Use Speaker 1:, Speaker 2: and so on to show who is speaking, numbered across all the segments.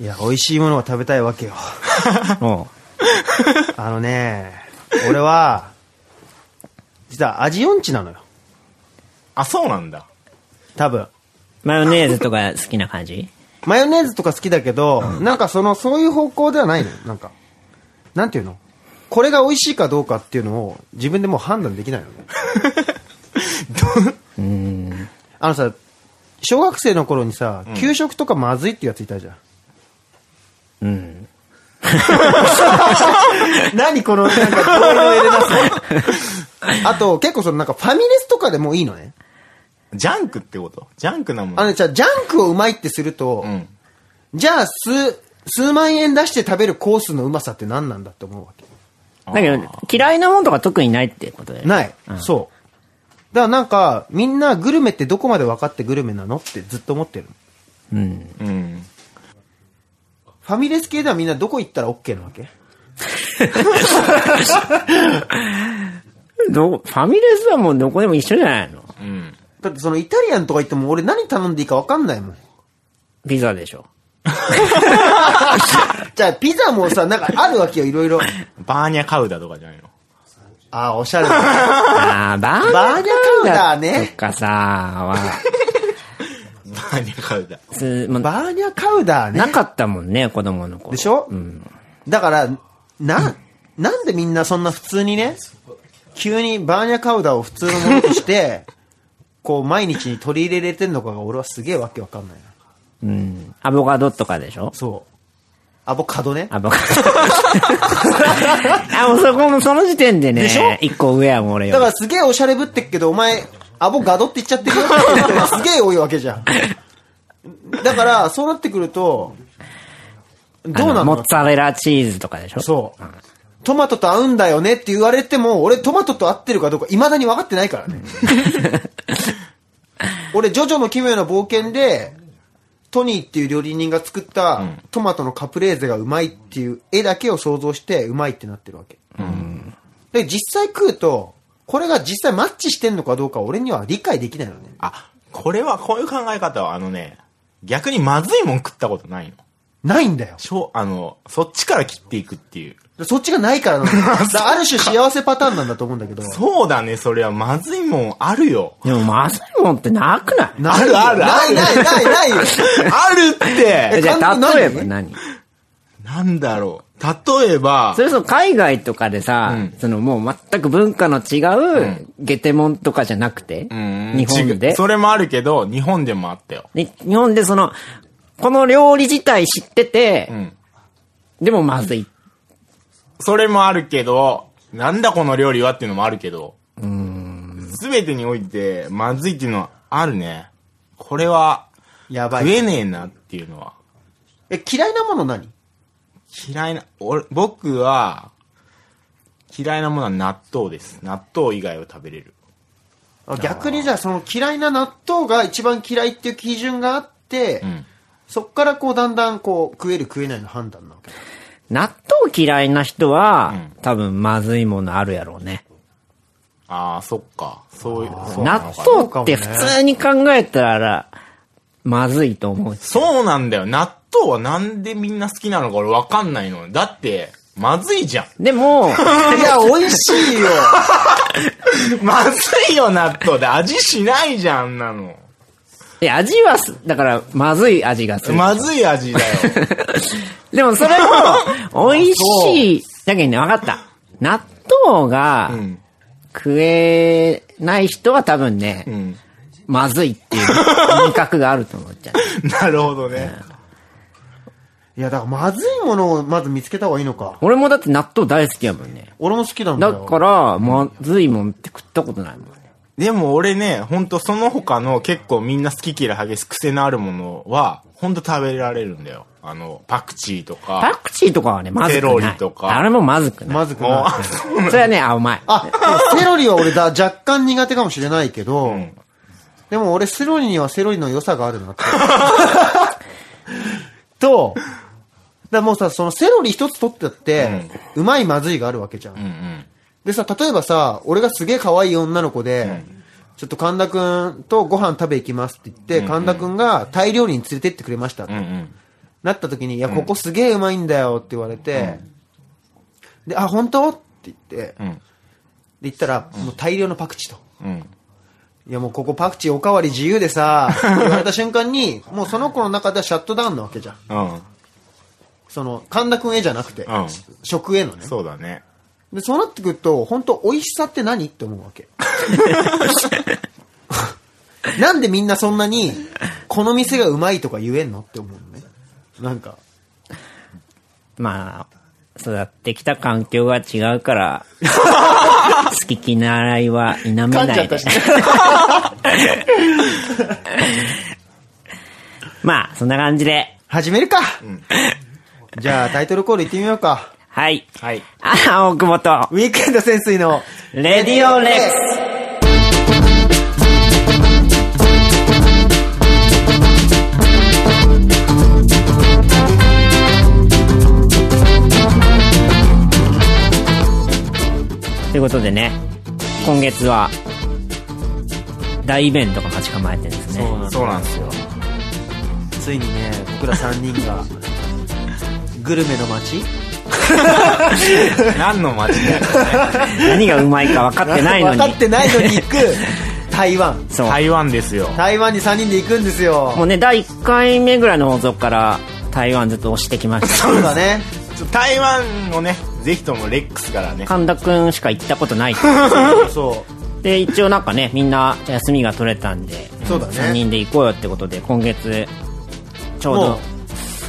Speaker 1: いや、美味しいものが食べたいわけよ。うん。あのね、俺は、実は味音痴なのよ。
Speaker 2: あ、そうなんだ。
Speaker 1: 多分。
Speaker 3: マヨネーズとか好きな感じ
Speaker 1: マヨネーズとか好きだけど、なんかその、そういう方向ではないのよ。なんか、なんていうのこれが美味しいかどうかっていうのを自分でもう判断でき ないのね。あのさ、小学生の頃にさ、給食とかまずいっていうやついたじゃん。うん。 何この、なんか、声の入れ出すのあと、結構そのなんかファミレスとかでもいいのね。
Speaker 2: ジャンクってことジャンクなも
Speaker 1: あ
Speaker 2: の。
Speaker 1: の、じゃあジャンクをうまいってすると、
Speaker 2: うん。
Speaker 1: じゃあ数、数万円出して食べるコースのうまさって何なんだって思うわけ。
Speaker 3: だけど、嫌いなもんとか特にないってことだよね。
Speaker 1: ない。そう。だからなんか、みんなグルメってどこまで分かってグルメなのってずっと思ってるの。
Speaker 2: うん。
Speaker 1: ファミレス系ではみんなどこ行ったら OK なわけ
Speaker 3: ど、ファミレスはもうどこでも一緒じゃないの
Speaker 2: うん。
Speaker 1: だってそのイタリアンとか行っても俺何頼んでいいか分かんないもん。
Speaker 3: ピザでしょ。
Speaker 1: じゃあピザもさ、なんかあるわけよ、いろいろ。
Speaker 2: バーニャカウダとかじゃないの。
Speaker 1: ああ、おしゃれだ。
Speaker 3: あーバー
Speaker 1: バーニャカウダー
Speaker 3: と
Speaker 1: ね。
Speaker 3: かさ、は、
Speaker 2: バーニャカウダ。
Speaker 3: す もう
Speaker 1: バーニャカウダーね。
Speaker 3: なかったもんね、子供の頃。
Speaker 1: でしょだから、な、なんでみんなそんな普通にね、急にバーニャカウダーを普通のものと して、こう毎日に取り入れれてんのかが俺はすげえわけわかんないな。
Speaker 3: うん。アボカドとかでしょ
Speaker 1: そう。アボカドね。
Speaker 3: アボカ ド。あ、もうそこもその時点でね。
Speaker 1: でしょ
Speaker 3: 一個上やもん俺よ
Speaker 1: だ
Speaker 3: り。
Speaker 1: からすげえおしゃれぶってっけど、お前、アボガドって言っちゃってるよって人が すげえ多いわけじゃん。だから、そうなってくると、どうな
Speaker 3: あ
Speaker 1: の
Speaker 3: モッツァレラチーズとかでしょ
Speaker 1: そう。トマトと合うんだよねって言われても、俺トマトと合ってるかどうか未だに分かってないから ね。俺、ジョジョの奇妙な冒険で、トニーっていう料理人が作ったトマトのカプレーゼがうまいっていう絵だけを想像してうまいってなってるわけ。で、実際食うと、これが実際マッチしてんのかどうか俺には理解できないのね。
Speaker 2: あ、これは、こういう考え方は、あのね、逆にまずいもん食ったことないの。
Speaker 1: ないんだよ。
Speaker 2: しょあの、そっちから切っていくっていう。
Speaker 1: そっちがないからなの。だ からある種幸せパターンなんだと思うんだけど。
Speaker 2: そうだね、それはまずいもんあるよ。
Speaker 3: でもまずいもんってなくない
Speaker 1: ないよ
Speaker 2: あるあ
Speaker 1: な
Speaker 2: る
Speaker 1: いないないないよ
Speaker 2: あるって
Speaker 1: え
Speaker 3: じゃ
Speaker 1: 感
Speaker 3: あ
Speaker 1: 動
Speaker 3: 例えば
Speaker 1: 何
Speaker 3: 何
Speaker 2: なんだろう。例えば
Speaker 3: そ、れこそ海外とかでさ、
Speaker 2: うん
Speaker 3: そのもう全く文化の違う、ゲテモンとかじゃなくて、
Speaker 2: うん
Speaker 3: 日本
Speaker 2: 違
Speaker 3: で
Speaker 2: うそれもあるけど、日本でもあったよ。
Speaker 3: で日本でその、この料理自体知ってて、
Speaker 2: うん。
Speaker 3: でもまずい。
Speaker 2: それもあるけど、なんだこの料理はっていうのもあるけど、すべてにおいて、まずいっていうのはあるね。これは、
Speaker 1: やばい
Speaker 2: 食。えねえなっていうのは。
Speaker 1: え、嫌いなもの何
Speaker 2: 嫌いな、俺、僕は、嫌いなものは納豆です。納豆以外を食べれる。
Speaker 1: あ逆にじゃあその嫌いな納豆が一番嫌いっていう基準があって、
Speaker 2: うん。
Speaker 1: そっからこうだんだんこう食える食え ないの判断なわけだ
Speaker 3: 納豆嫌いな人は、
Speaker 2: うん
Speaker 3: 多分まずいものあるやろうね。
Speaker 2: ああ、そっか。そういう、そうなの
Speaker 3: 納
Speaker 2: かな
Speaker 3: 豆って普通に考えたら、まずいと思う。
Speaker 2: そうなんだよ。納豆はなんでみんな好きなのか俺わかんないの。だって、まずいじゃん。
Speaker 3: でも、
Speaker 1: いや、美味しいよ
Speaker 2: まずいよ、納豆で。味しないじゃん、あんなの。
Speaker 3: いや味はす、だから、まずい味がする。
Speaker 2: まずい味だよ。
Speaker 3: でもそれも、美味しい。だけどね、わかった。納豆が
Speaker 2: うん。
Speaker 3: 食えない人は多分ね、
Speaker 2: うん。
Speaker 3: まずいっていう味覚があると思っちゃう。
Speaker 2: なるほどね。
Speaker 1: いや、だからまずいものをまず見つけた方がいいのか。
Speaker 3: 俺もだって納豆大好きやもんね。
Speaker 1: 俺も好きなんだ
Speaker 3: だ
Speaker 1: よ。
Speaker 3: から、まずいもんって食ったことないもんね。
Speaker 2: でも俺ね、ほんとその他の結構みんな好き嫌い激しく癖のあるものは、ほんと食べられるんだよ。あの、パクチーと
Speaker 3: パ
Speaker 2: か。
Speaker 3: クチーとかはね、まずくない。
Speaker 2: セロリとか
Speaker 3: あれもまずくない。
Speaker 1: まずく
Speaker 2: もう
Speaker 1: ない。、
Speaker 3: そ れはね、あ、うまい。
Speaker 1: あ、でもセロリは俺だ、若干苦手かもしれないけど、
Speaker 2: ん
Speaker 1: でも俺セロリにはセロリの良さがあるな って。と、だからもうさ、そのセロリ一つ取ってだって、うまいまずいがあるわけじゃん
Speaker 2: うんうん。
Speaker 1: でさ、例えばさ、俺がすげえ可愛い女の子で、ちょっと神田くんとご飯食べ行きますって言って、神田くんがタイ料理に連れてってくれました、
Speaker 2: うんうん。
Speaker 1: なった時に、いや、ここすげえうまいんだよって言われて、で、あ、本当って言って、
Speaker 2: うん
Speaker 1: で、言ったら、もう大量のパクチーと。
Speaker 2: うん。
Speaker 1: いやもうここパクチーおかわり自由で さ、って言われた瞬間に、もうその子の中ではシャットダウンなわけじゃん。
Speaker 2: うん。
Speaker 1: その、神田くんへじゃなくて、
Speaker 2: うん
Speaker 1: 食へのね。
Speaker 2: そうだね。
Speaker 1: で、そうなってくると、本当美味しさって何って思う わけ。なんでみんなそんなに、この店がうまいとか言えんのって思うのね。なんか、
Speaker 3: まあ、育ってきた環境が違う から、好き嫌いは否め
Speaker 1: 噛ん
Speaker 3: な
Speaker 1: じゃっ
Speaker 3: い
Speaker 1: た
Speaker 3: で
Speaker 1: し。。
Speaker 3: まあ、そんな感じで。
Speaker 1: 始めるか、じゃあタイトルコール行ってみようか。
Speaker 3: はい。
Speaker 2: はい。
Speaker 3: あ、大久保と、
Speaker 1: ウィークエンド潜水の、
Speaker 3: レディオレックス。ということでね、今月は、大イベントが待ち構えてるんですね。
Speaker 2: そうなんですよ。
Speaker 1: ついにね、僕ら3人が、グルメの街
Speaker 2: 何の街だよ。
Speaker 3: 何がうまい か分かってないのに。
Speaker 1: 分かってないのに行く、台湾。
Speaker 3: そう。
Speaker 2: 台湾ですよ。
Speaker 1: 台湾に3人で行くんですよ。
Speaker 3: もうね、第1回目ぐらいの放送から、台湾ずっと押してきまし
Speaker 1: そ
Speaker 3: た。
Speaker 1: うだね。
Speaker 2: ちょ台湾のね、ぜひともレックスからね。
Speaker 3: 神田くんしか行ったことないって。
Speaker 1: そ
Speaker 3: で、一応なんかね、みんな休みが取れたんで、
Speaker 1: う。そうだね。
Speaker 3: 3人で行こうよってことで、今月、ちょう
Speaker 1: も
Speaker 3: ど、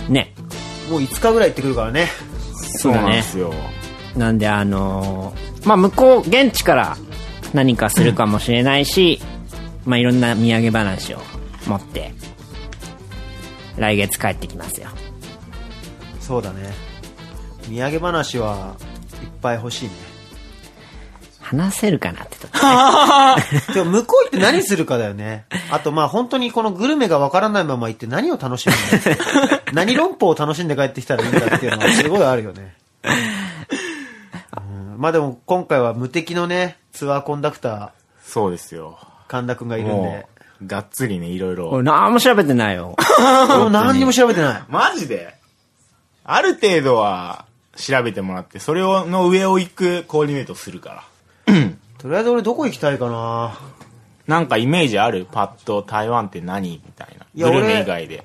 Speaker 3: ね、
Speaker 1: う、もう5日ぐらい行ってくるからね。
Speaker 2: そうなんですよ。
Speaker 3: なんであのーまあ向こう、現地から何かするかもしれないし、まあいろんな土産話を持って、来月帰ってきますよ。
Speaker 1: そうだね。土産話はいっぱい欲しいね。
Speaker 3: 話せるかなってとこ。
Speaker 1: でも向こう行って何するかだよね。あとまあ本当にこのグルメがわからないまま行って何を楽しむのか何論法を楽しんで帰ってきたらいいんだっていうのはすごいあるよね。うんまあでも今回は無敵のね、ツアーコンダクタ
Speaker 2: そうですよ。
Speaker 1: ー、神田くんがいるん
Speaker 2: も
Speaker 1: で。
Speaker 2: う、がっつりね、いろいろ。
Speaker 3: 俺何も調べてないよ。
Speaker 1: もう何にも調べてない。
Speaker 2: マジである程度は調べてもらって、それをの上を行くコーディネートするから。
Speaker 1: とりあえず俺どこ行きたいかな
Speaker 2: なんかイメージあるパッと台湾って何みたいな。
Speaker 1: いや
Speaker 2: グルメ
Speaker 1: 俺
Speaker 2: 以外で。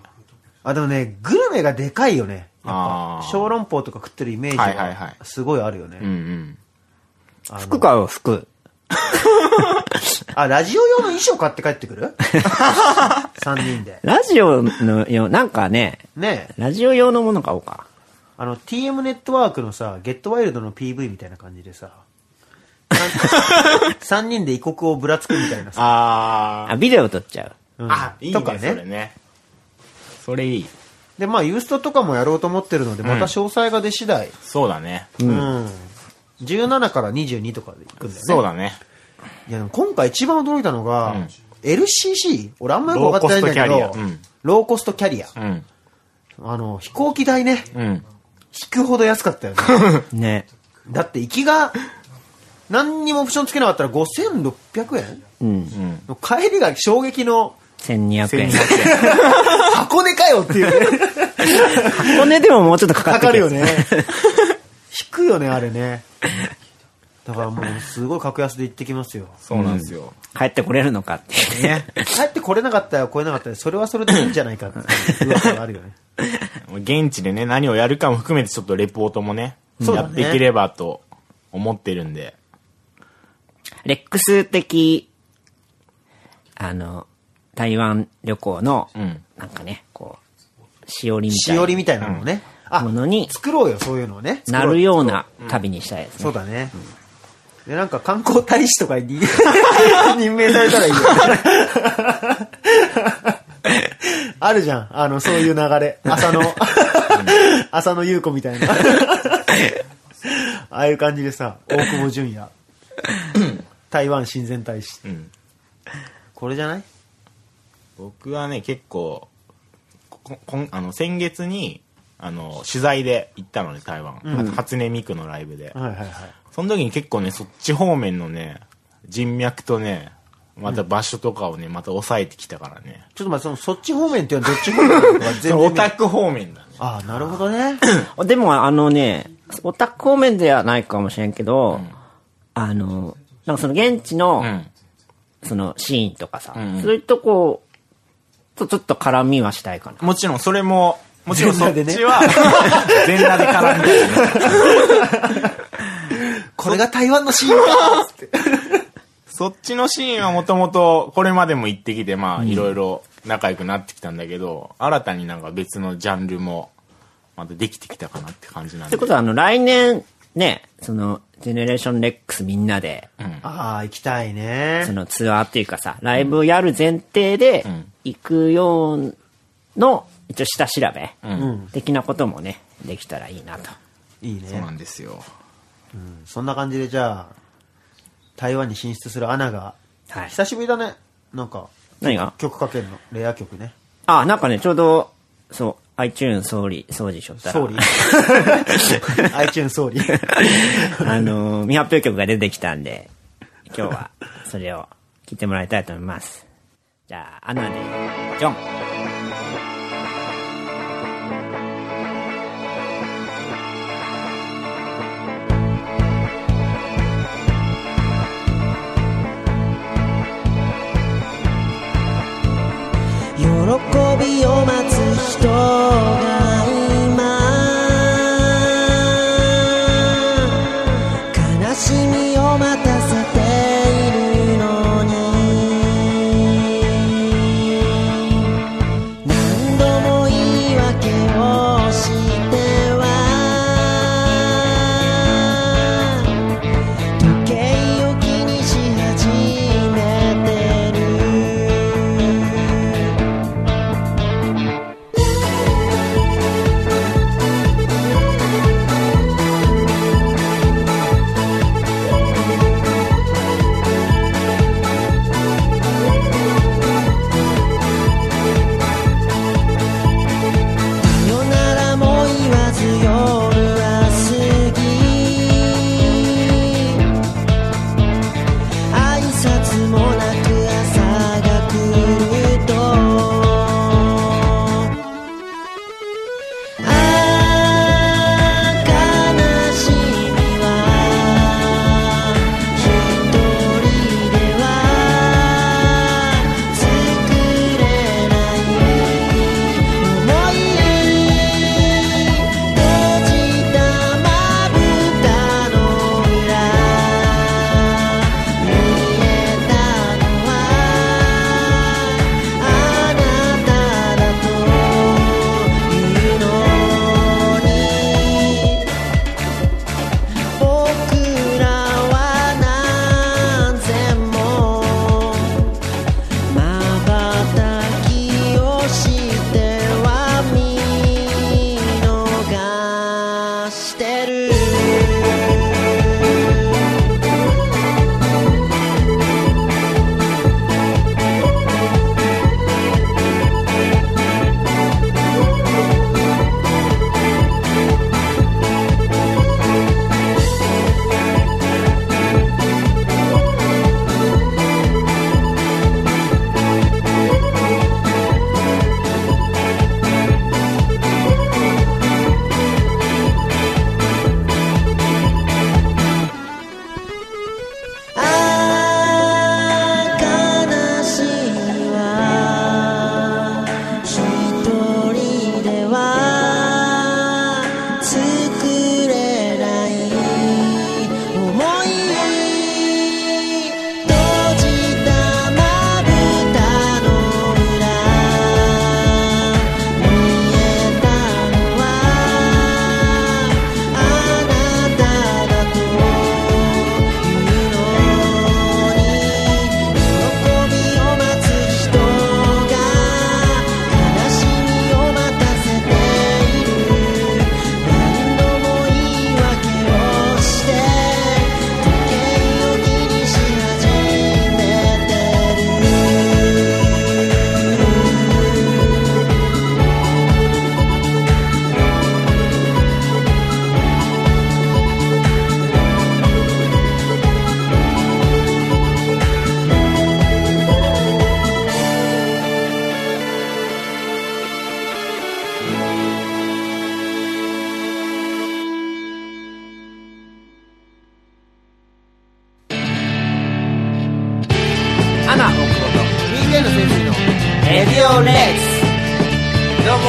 Speaker 1: あ、でもね、グルメがでかいよね。
Speaker 2: ああ。
Speaker 1: 小籠包とか食ってるイメージ
Speaker 2: はいはいは
Speaker 1: が
Speaker 2: い
Speaker 1: すごいあるよね。
Speaker 2: うんうん。
Speaker 3: 服買う服。
Speaker 1: あ、ラジオ用の衣装買って帰ってく る ?3 人で。
Speaker 3: ラジオのよ、なんかね、
Speaker 1: ねえ
Speaker 3: ラジオ用のもの買おうか。
Speaker 1: あの、TM ネットワークのさ、ゲットワイルドの PV みたいな感じでさ、3 人で異国をぶらつくみたいなさ、
Speaker 2: あ
Speaker 3: あ、ビデオ撮っちゃう。
Speaker 1: う
Speaker 2: ー。
Speaker 1: ん
Speaker 2: あ、いいね、
Speaker 1: とか
Speaker 2: それ
Speaker 1: ね。
Speaker 2: ね。それいい。
Speaker 1: で、まあ、ユーストとかもやろうと思ってるので、また詳細が出次第、
Speaker 2: そうだね。
Speaker 1: うん。17から22とかで行くんだよね。
Speaker 2: そうだね。
Speaker 1: いやでも今回一番驚いたのが、
Speaker 2: ん
Speaker 1: LCC? 俺あんまよく分かってないんだけ
Speaker 2: ロー
Speaker 1: ど
Speaker 2: コストキャリアうん、
Speaker 1: ローコストキャリア。
Speaker 2: うん。
Speaker 1: あの、飛行機代ね、
Speaker 2: うん。
Speaker 1: 引くほど安かったよね。
Speaker 3: ね。
Speaker 1: だって行きが、何にもオプションつけなかったら5600円
Speaker 3: うん。
Speaker 1: の帰りが衝撃の
Speaker 3: 1200円。
Speaker 1: 箱根かよっていうね
Speaker 3: 箱根でももうちょっとかかっ
Speaker 1: か
Speaker 3: て
Speaker 1: かる
Speaker 3: る
Speaker 1: よね。引くよね、あれね。だからもうすごい格安で行ってきますよ。
Speaker 2: そうなんですよ。
Speaker 3: 帰ってこれるのかっていうね。
Speaker 2: ね。
Speaker 1: 帰ってこれなかったよ、来れなかったよ、それはそれでいいんじゃないかっていう噂があるよね。
Speaker 2: 現地でね、何をやるかも含めてちょっとレポートもね、
Speaker 1: そう
Speaker 2: や
Speaker 1: だ
Speaker 2: っ
Speaker 1: ね
Speaker 2: ていければと思ってるんで。
Speaker 3: レックス的、あの、台湾旅行の、
Speaker 2: うん
Speaker 3: なんかね、こう、しおりみた
Speaker 1: しおり
Speaker 3: い
Speaker 1: みたいなのをね。
Speaker 3: な
Speaker 1: あ
Speaker 3: も、のに
Speaker 1: 作ろうよ、そういうのをね。
Speaker 3: なるような旅にしたいです
Speaker 1: そ
Speaker 3: ね
Speaker 1: う。だね。で、なんか観光大使とかに 任命されたらいいよ。 あるじゃん。あの、そういう流れ。浅野、浅野優子みたいな。 ああいう感じでさ、大久保純 也。台湾親善大使。
Speaker 2: うん。
Speaker 1: これじゃない
Speaker 2: 僕はね、結構、ここんあの先月に、あの、取材で行ったのね、台湾。初音ミクのライブで。
Speaker 1: はいはいはい。
Speaker 2: その時に結構ね、そっち方面のね、人脈とね、また場所とかをね、また抑えてきたからね。
Speaker 1: ちょっと待って、その、そっち方面っていうのはどっち方面なのか全然
Speaker 2: オ
Speaker 1: 見えない
Speaker 2: タク方面だね。
Speaker 1: ああ、なるほどね。
Speaker 3: でも、あのね、オタク方面ではないかもしれんけど、あの、なんかその現地の、
Speaker 2: ん
Speaker 3: そのシーンとかさ、そういうとこ、とちょっと絡みはしたいかな。
Speaker 2: もちろん、それも、もちろんそっ
Speaker 1: 全裸でね
Speaker 2: ちは、 全裸で絡んでるね。
Speaker 1: これが台湾のシーンだつって
Speaker 2: そっちのシーンはもともと、これまでも行ってきて、まあ、いろいろ仲良くなってきたんだけど、新たになんか別のジャンルも、またできてきたかなって感じなん
Speaker 3: っ
Speaker 2: で
Speaker 3: て。ことは、あの、来年、ね、その、ジェネレーションレックスみんなで、
Speaker 1: ああ、行きたい
Speaker 3: そ
Speaker 1: ね。
Speaker 3: のツアーっていうかさ、ライブをやる前提で、行くようの、一応下調べ、的なこともね、できたらいいなと。
Speaker 1: いい
Speaker 2: そう
Speaker 1: ね
Speaker 2: な。んですよ。
Speaker 1: そんな感じで、じゃあ、台湾に進出するアナが、
Speaker 3: はい。
Speaker 1: 久しぶりだね。なんか、
Speaker 3: 何が
Speaker 1: 曲かけるの。レア曲ね。
Speaker 3: あ、なんかね、ちょうど、そう、iTunes 総理、掃除しよったら。
Speaker 1: 総理 iTunes 総理。
Speaker 3: あのー、未発表曲が出てきたんで、今日は、それを聞いてもらいたいと思います。じゃあ、アナで、ジョン。
Speaker 4: 喜びを待つ人が今悲しみを待たせているのに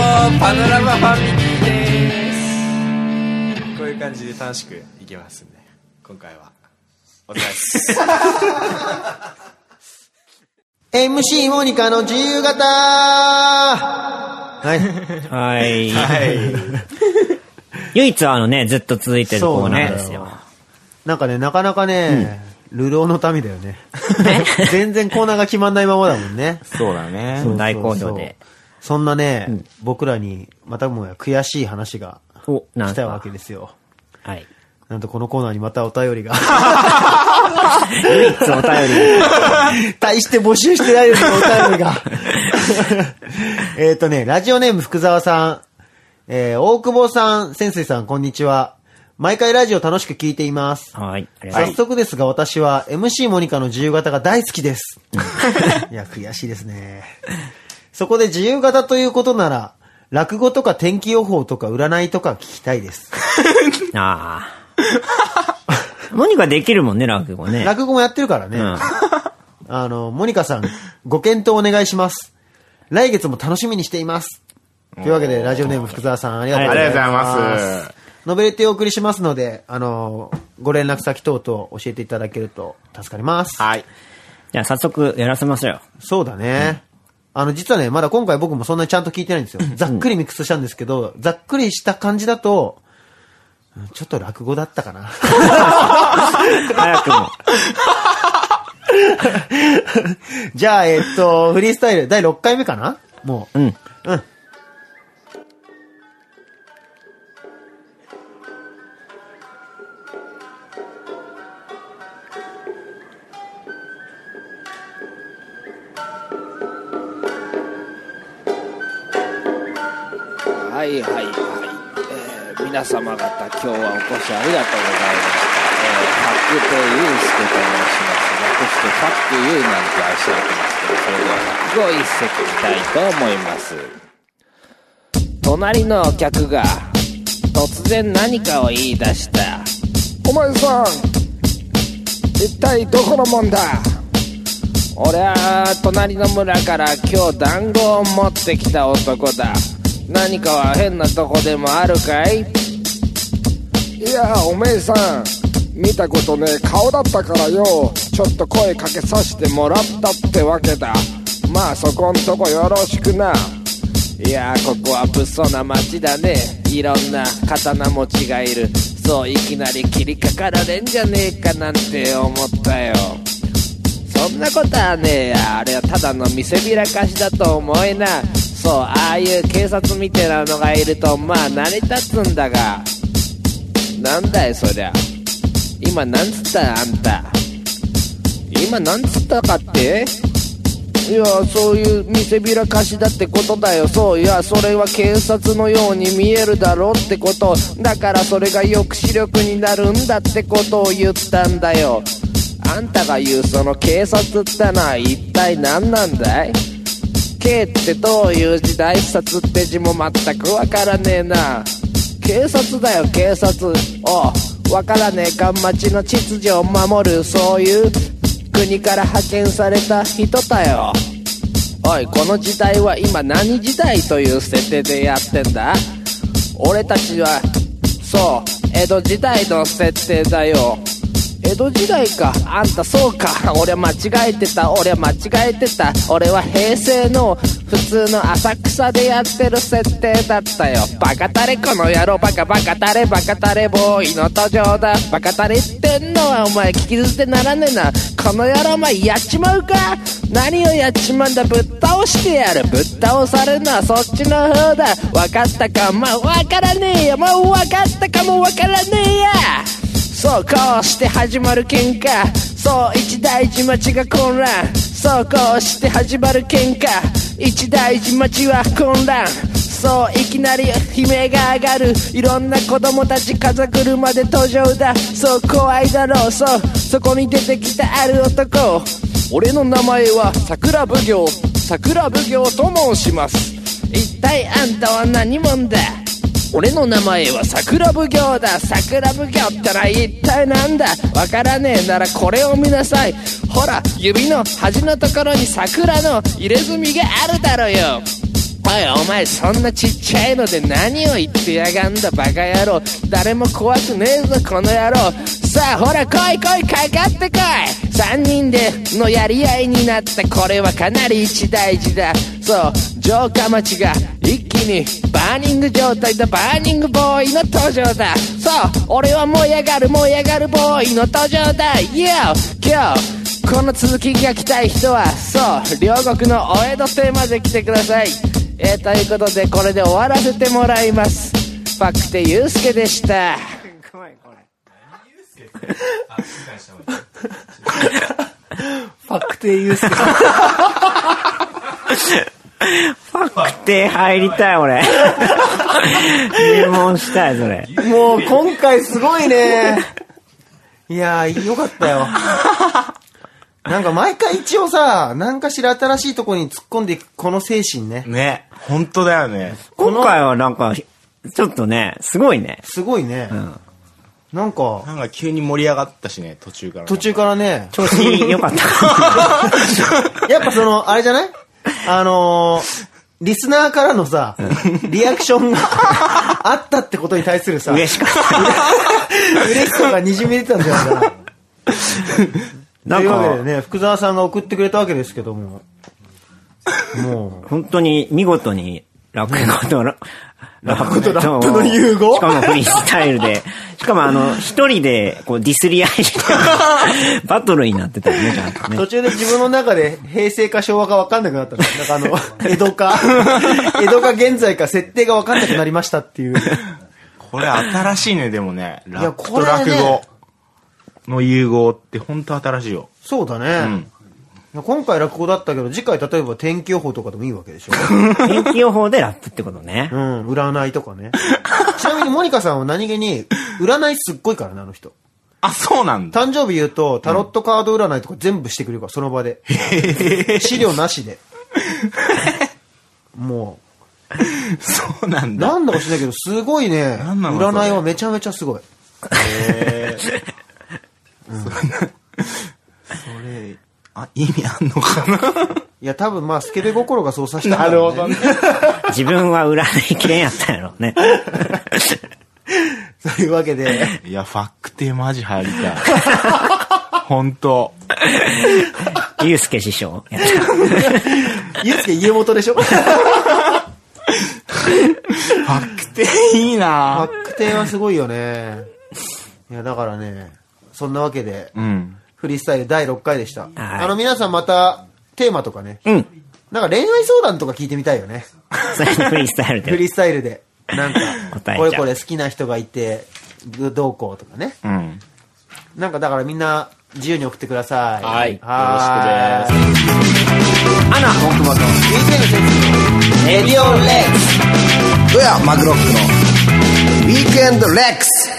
Speaker 5: パノラマファミリーですこういう感じで楽しくいけますんで今回はお疲れ様です
Speaker 1: MC モニカの自由形はい。
Speaker 3: はい。唯一あのね、ずっと続いてるコーナーですよ。
Speaker 1: なんかね、なかなかね、流浪の民だよね。 全然コーナーが決まんないままだもんね。
Speaker 2: そうだね
Speaker 1: そうそうそう
Speaker 3: 大好評で。
Speaker 1: そんなね、僕らに、またもや悔しい話が
Speaker 3: お、なん
Speaker 1: 来
Speaker 3: す
Speaker 1: たわ
Speaker 3: か
Speaker 1: け。ですよ。
Speaker 3: はい。
Speaker 1: なんとこのコーナーにまたお便りが。
Speaker 3: 唯一お便り。
Speaker 1: 大して募集してないですよ、お 便りが。えっとね、ラジオネーム福沢さん。えー、大久保さん、潜水さん、こんにちは。毎回ラジオ楽しく聞いています。
Speaker 3: はい。ありがとうござい
Speaker 1: 早
Speaker 3: ます。
Speaker 1: 速ですが、私は MC モニカの自由形が大好き です。いや、悔しいですね。そこで自由形ということなら、落語とか天気予報とか占いとか聞きたいです。
Speaker 3: ああ。モニカできるもんね、落語ね。
Speaker 1: 落語もやってるからね。
Speaker 3: うん。
Speaker 1: あの、モニカさん、ご検討お願いします。来月も楽しみにしています。というわけで、ラジオネーム福沢さん、ありがとうございます。
Speaker 2: ありがとうございます。
Speaker 1: ノベルティをお送りしますので、あの、ご連絡先等々教えていただけると助かります。
Speaker 2: はい。
Speaker 3: じゃあ早速やらせましょうよ。
Speaker 1: そうだね。あの、実はね、まだ今回僕もそんなにちゃんと聞いてないんですよ。ざっくりミックスしたんですけど、ざっくりした感じだと、うんちょっと落語だったかな。
Speaker 3: 早くも。
Speaker 1: じゃあ、えっと、フリースタイル第6回目かなもう。
Speaker 3: うん。
Speaker 1: うん。
Speaker 6: はいはいはい、えー皆様方今日はお越しありがとうございました、えー、ファック亭ユースケと申します略してファックユーなんておっしゃってますけどそれでは落語を一席いきたいと思います隣のお客が突然何かを言い出した
Speaker 7: お前さん一体どこのもんだ
Speaker 6: 俺は隣の村から今日団子を持ってきた男だ何かは変なとこでもあるかい
Speaker 7: いやおめえさん見たことねえ顔だったからよちょっと声かけさせてもらったってわけだ
Speaker 6: まあそこんとこよろしくないやーここは物騒な町だねいろんな刀持ちがいるそういきなり切りかかられんじゃねえかなんて思ったよそんなことはねえやあれはただの見せびらかしだと思えなそうああいう警察みたいなのがいるとまあ成り立つんだがなんだいそりゃ今なんつったあんた今なんつったかっていやそういう見せびらかしだってことだよそういやそれは警察のように見えるだろうってことだからそれが抑止力になるんだってことを言ったんだよあんたが言うその警察ってのは一体何なんだい K ってどういう時代札って字も全くわからねえな警察だよ警察おうわからねえか町の秩序を守るそういう国から派遣された人だよおいこの時代は今何時代という設定でやってんだ俺たちはそう江戸時代の設定だよ江戸時代かあんたそうか 俺は間違えてた俺は間違えてた俺は平成の普通の浅草でやってる設定だったよバカタレこの野郎バカバカタレバカタレボーイの登場だバカタレってんのはお前聞き捨てならねえなこの野郎お前やっちまうか何をやっちまうんだぶっ倒してやるぶっ倒されるのはそっちの方だ分かったかまあ分からねえよまあ分かったかも分からねえやそうこうして始まる喧嘩そう一大事町が混乱そうこうして始まる喧嘩一大事町は混乱そういきなり悲鳴が上がるいろんな子供たち風車で登場だそう怖いだろうそうそこに出てきたある男俺の名前は桜奉行桜奉行と申します一体あんたは何者だ俺の名前は桜奉行だ桜奉行ってのは一体なんだわからねえならこれを見なさいほら指の端のところに桜の入れ墨があるだろうよおいお前そんなちっちゃいので何を言ってやがんだバカ野郎誰も怖くねえぞこの野郎さあほら来い来いかかってこい3人でのやり合いになったこれはかなり一大事だそう城下町が一気にバーニング状態だバーニングボーイの登場だそう俺は燃え上がる燃え上がるボーイの登場だ YO 今日この続きが来たい人はそう両国のお江戸邸まで来てくださいえー、ということでこれで終わらせてもらいますパクテユウスケでした
Speaker 3: パクテユースケ。パクテ入りたい、俺。入門したい、それ。
Speaker 1: もう今回すごいね。いやー、よかったよ。なんか毎回一応さ、何かしら新しいとこに突っ込んでいくこの精神ね。
Speaker 2: ね。本当だよね。
Speaker 3: 今回はなんか、ちょっとね、すごいね。
Speaker 1: すごいね。なんか、
Speaker 2: なんか急に盛り上がったしね、途中からね。
Speaker 1: 途中からね、
Speaker 3: 調子良かった。
Speaker 1: やっぱその、あれじゃないあのー、リスナーからのさ、リアクション があったってことに対するさ、
Speaker 3: 嬉しかった。
Speaker 1: 嬉しさが滲み出たんじゃないかな。
Speaker 3: な
Speaker 1: と
Speaker 3: ん
Speaker 1: いうわけ
Speaker 3: か
Speaker 1: で、ね、福沢さんが送ってくれたわけですけども、もう、
Speaker 3: 本当に見事に落語 とラ落語とラッ
Speaker 1: プの融合
Speaker 3: しかもフリースタイルで、しかもあの、一人でこうディスり合いして バトルになってたよね、ちゃんとね。
Speaker 1: 途中で自分の中で平成か昭和か分かんなくなったの。なんかあ の、江戸か、江戸か現在か設定が分かんなくなりましたっていう。
Speaker 2: これ新しいね、でもね。ラップ
Speaker 1: ことれね
Speaker 2: 落語の融合って本当新しいよ。
Speaker 1: そうだね。今回落語だったけど、次回例えば天気予報とかでもいいわけでしょ。
Speaker 3: 天気予報でラップってことね
Speaker 1: う。ん、占いとかね。 ちなみにモニカさんは何気に、占いすっごいからね、あの人。
Speaker 2: あ、そうなんだ。
Speaker 1: 誕生日言うと、タロットカード占いとか全部してくれるから、その場で。 資料なしで。も
Speaker 2: そうなん
Speaker 1: う、
Speaker 2: だ。
Speaker 1: なんだか知らないけど、すごいね、
Speaker 2: なんなのそれ
Speaker 1: 占いはめちゃめちゃすごい。
Speaker 2: それ、あ、意味あんのか
Speaker 1: いや、多分まあ、スケベ心がそうさせ
Speaker 2: な
Speaker 1: たから、ね。
Speaker 2: ね。
Speaker 3: 自分は占い系やったんやろうね。
Speaker 1: というわけで、
Speaker 2: いや、ファックテマジ入り たい。本当
Speaker 3: ゆうすけ師匠やっ
Speaker 1: ゆうすけ家元でしょ バ
Speaker 2: ファックテいいな
Speaker 1: ックテンはすごいよね。いや、だからね、そんなわけで、
Speaker 2: うん。
Speaker 1: フリースタイル第6回でした。
Speaker 3: はい
Speaker 1: あの、皆さんまた、テーマとかね。
Speaker 3: ん
Speaker 1: なんか恋愛相談とか聞いてみたいよね。
Speaker 3: た。それでフリースタイル
Speaker 1: フ
Speaker 3: で。
Speaker 1: リースタイルで。なんか
Speaker 3: 答え、ちゃ
Speaker 1: こ
Speaker 3: う
Speaker 1: れこれ好きな人がいて、どどうこうとかね。
Speaker 2: うん。
Speaker 1: なんかだからみんな、自由に送ってください。
Speaker 2: はい
Speaker 1: はーい。ろ
Speaker 2: よ
Speaker 1: しくです。アナ、大久保と、先生の説明。エディオンレックス。
Speaker 8: どやマグロックのウィークエンドレックス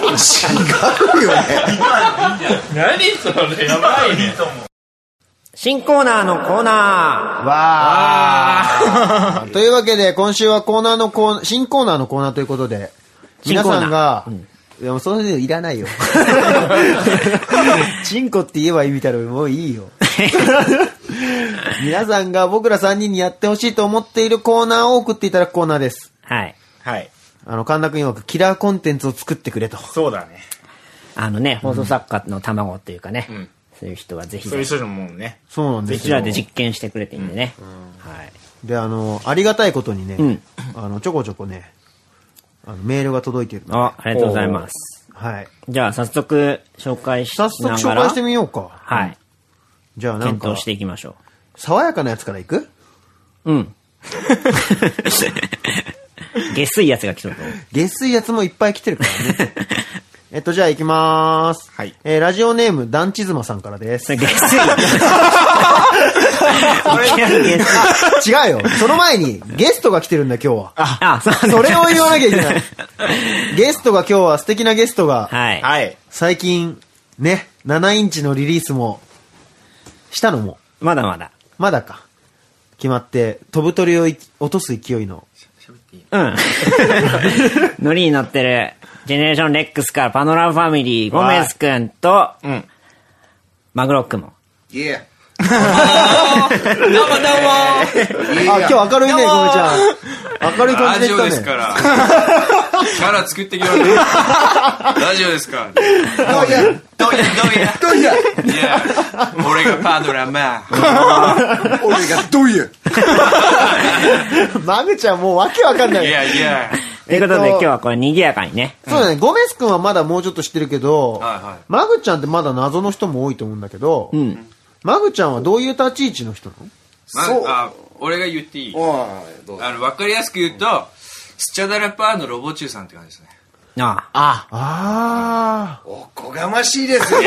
Speaker 8: 違うよね
Speaker 3: 新コーナーのコーナ
Speaker 1: わー。というわけで、今週はコーナーのコーナー、新コーナーのコーナーということで、
Speaker 3: 新
Speaker 1: 皆
Speaker 3: コーナー
Speaker 1: さんが、いやもうそういうのいらないよ。 チンコって言えばいいみたいなのもういいよ。皆さんが僕ら3人にやってほしいと思っているコーナーを送っていただくコーナーです。
Speaker 3: ー。はい。
Speaker 2: はい。
Speaker 1: あの、神田君曰くキラーコンテンツを作ってくれと。
Speaker 2: そうだね。
Speaker 3: あのね、放送作家の卵っていうかね、
Speaker 2: ん
Speaker 3: そういう人はぜひ、
Speaker 2: そういう
Speaker 3: う
Speaker 2: 人でもね。
Speaker 1: そうなんです
Speaker 3: ち
Speaker 1: よ。
Speaker 3: らで実験してくれていいんでね。はい。
Speaker 1: で、あの、ありがたいことにね、
Speaker 3: ん
Speaker 1: あの、ちょこちょこね、あのメールが届いてるの。
Speaker 3: あ、ありがとうございます。
Speaker 1: はい。
Speaker 3: じゃあ、早速、紹介しな
Speaker 1: 早
Speaker 3: が
Speaker 1: 速
Speaker 3: ら。
Speaker 1: 紹介してみようか。
Speaker 3: はい。
Speaker 1: じゃあなん
Speaker 3: 検
Speaker 1: か
Speaker 3: 討し、ていきましょ
Speaker 1: 爽やかなやつからいく
Speaker 3: う。うん。 下水やつが 来そうと思う。
Speaker 1: 下水やつもいっぱい来てるからね。えっと、じゃあ行きまーす。
Speaker 2: はい
Speaker 1: えーラジオネーム、団地妻さんからです。
Speaker 3: それ下 水。いきなり下水。
Speaker 1: 違うよ。その前に、ゲストが来てるんだ、今日は。
Speaker 3: あ、そう
Speaker 1: それを言わなきゃいけ ない。ゲストが今日は素敵なゲストが、
Speaker 3: はい。
Speaker 2: はい。
Speaker 1: 最近、ね、7インチのリリースも、したのも、
Speaker 3: まだまだ。
Speaker 1: まだか。決まって、飛ぶ鳥をい落とす勢いの、
Speaker 3: うん。ノリに乗ってる、ジェネレーションレックスからパノラムファミリー、ゴメスくんと、
Speaker 2: うん。
Speaker 3: マグロックも。
Speaker 8: いや
Speaker 5: どうもどうも
Speaker 1: あ、今日明るいね、ごめちゃん。明るい感じで
Speaker 5: ラジ
Speaker 1: し
Speaker 5: オで
Speaker 1: た
Speaker 5: すか
Speaker 1: ね。
Speaker 5: ら。キャラ作ってきました。ラジオですから。どうやどうやどうやいや、俺がパドラマ。
Speaker 8: 俺がどういう
Speaker 1: マグちゃんもうわけわかんないい。
Speaker 5: やいや。
Speaker 3: ということで、
Speaker 1: えっと
Speaker 3: 今日はこれ賑やかにね。
Speaker 1: そうだね、ゴメス君はまだもうちょっと知ってるけど
Speaker 5: はいはい、
Speaker 1: マグちゃんってまだ謎の人も多いと思うんだけど、マグちゃんはどういう立ち位置の人なの
Speaker 5: ま
Speaker 8: そう
Speaker 5: あ、俺が言っていい
Speaker 8: はいどうぞ
Speaker 5: あの、わかりやすく言うと、スチャダラパーのロボ中さんって感じですね。
Speaker 3: ああ
Speaker 1: ああ
Speaker 8: おこがましいですね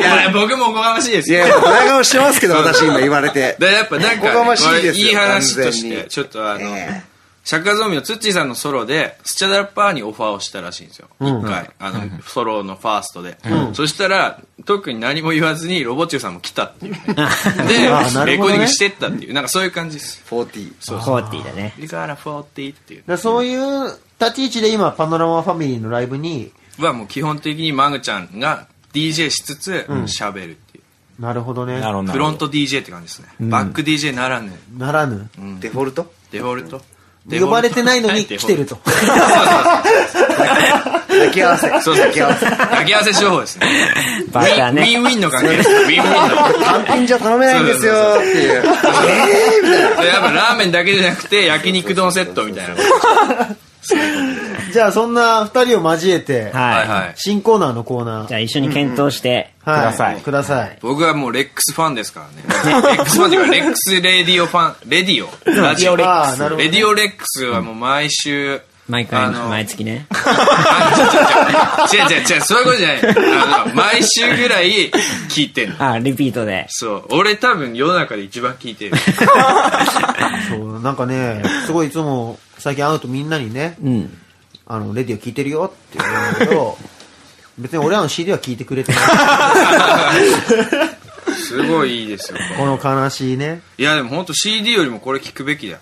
Speaker 5: いや、僕もおこがましいです
Speaker 8: い
Speaker 5: よ。
Speaker 8: や裏側してますけど私今言われて
Speaker 5: だからやっぱなん
Speaker 8: おこが
Speaker 5: か、
Speaker 8: ましい
Speaker 5: これ
Speaker 8: ですよ
Speaker 5: いい話とし
Speaker 8: 完全
Speaker 5: て、
Speaker 8: に
Speaker 5: ちょっとあの
Speaker 8: え、
Speaker 5: シャカゾンビのツッチーさんのソロで、スチャダラパーにオファーをしたらしいんですよ。一、回、あの、ソロのファーストで。そしたら、特に何も言わずに、ロボチューさんも来たっていう、ね。
Speaker 1: あーな
Speaker 5: で、
Speaker 1: る
Speaker 5: レ
Speaker 1: ほ
Speaker 5: コ
Speaker 1: どね
Speaker 5: ーディングしてったっていう、なんかそういう感じです。
Speaker 8: 40
Speaker 5: そうそう。
Speaker 3: 40だね。
Speaker 5: リガーラフォーティっていう。
Speaker 1: ー。そういう立ち位置で今、パノラマファミリーのライブに、
Speaker 5: はもう基本的にマグちゃんが DJ しつつ、喋るっていう。
Speaker 1: なるほどね
Speaker 2: な。るほどな
Speaker 5: フ
Speaker 2: るほ
Speaker 5: ロ
Speaker 2: ど
Speaker 5: ント DJ って感じですね。バック DJ ならぬ、
Speaker 1: ならぬ。
Speaker 8: デフォルト
Speaker 5: デフォルト。
Speaker 1: 呼ばれてないの に来てると。
Speaker 8: 抱き合わせ
Speaker 5: そうそう
Speaker 8: 抱き合わせ
Speaker 5: 掛け合わせ商法ですね。
Speaker 3: バカ
Speaker 5: ウィ
Speaker 3: ね。
Speaker 5: ンウィンの関係です。ウィンウィンの。
Speaker 8: 単品じゃ頼めないんですよってい
Speaker 5: でや
Speaker 8: う
Speaker 5: っぱラーメンだけじゃなくて焼肉丼セットみたいな。は
Speaker 1: じゃあそんな二人を交えて、
Speaker 5: い
Speaker 3: は
Speaker 5: はい。
Speaker 1: 新コーナーのコーナ
Speaker 3: い。
Speaker 1: ー。
Speaker 3: じゃあ一緒に検討して、
Speaker 1: はい
Speaker 2: ください
Speaker 1: くださ い。
Speaker 5: 僕はもうレックスファンですからね。レックスファンっていうか、レックスレディオファン、レディオ。ラジオレ
Speaker 1: あ
Speaker 5: ッ
Speaker 1: ーなるほど
Speaker 5: クス。レディオレックスはもう毎週、
Speaker 3: 毎回、
Speaker 5: あの
Speaker 3: 毎月ね。
Speaker 5: あ違う違う違う違う違う、そういうことじゃない。あの、毎週ぐらい聞いてんの。
Speaker 3: あ、リピートで。
Speaker 5: そう。俺多分世の中で一番聞いてる。
Speaker 1: そう、なんかね、すごいいつも最近会うとみんなにね、
Speaker 3: うん。
Speaker 1: あの、レディオ聞いてるよって言うんだけど、別に俺らの CD は聞いてくれてない。
Speaker 5: すごいいいですよ。
Speaker 1: この悲しいね。
Speaker 5: いやでも本当 CD よりもこれ聞くべきだよ。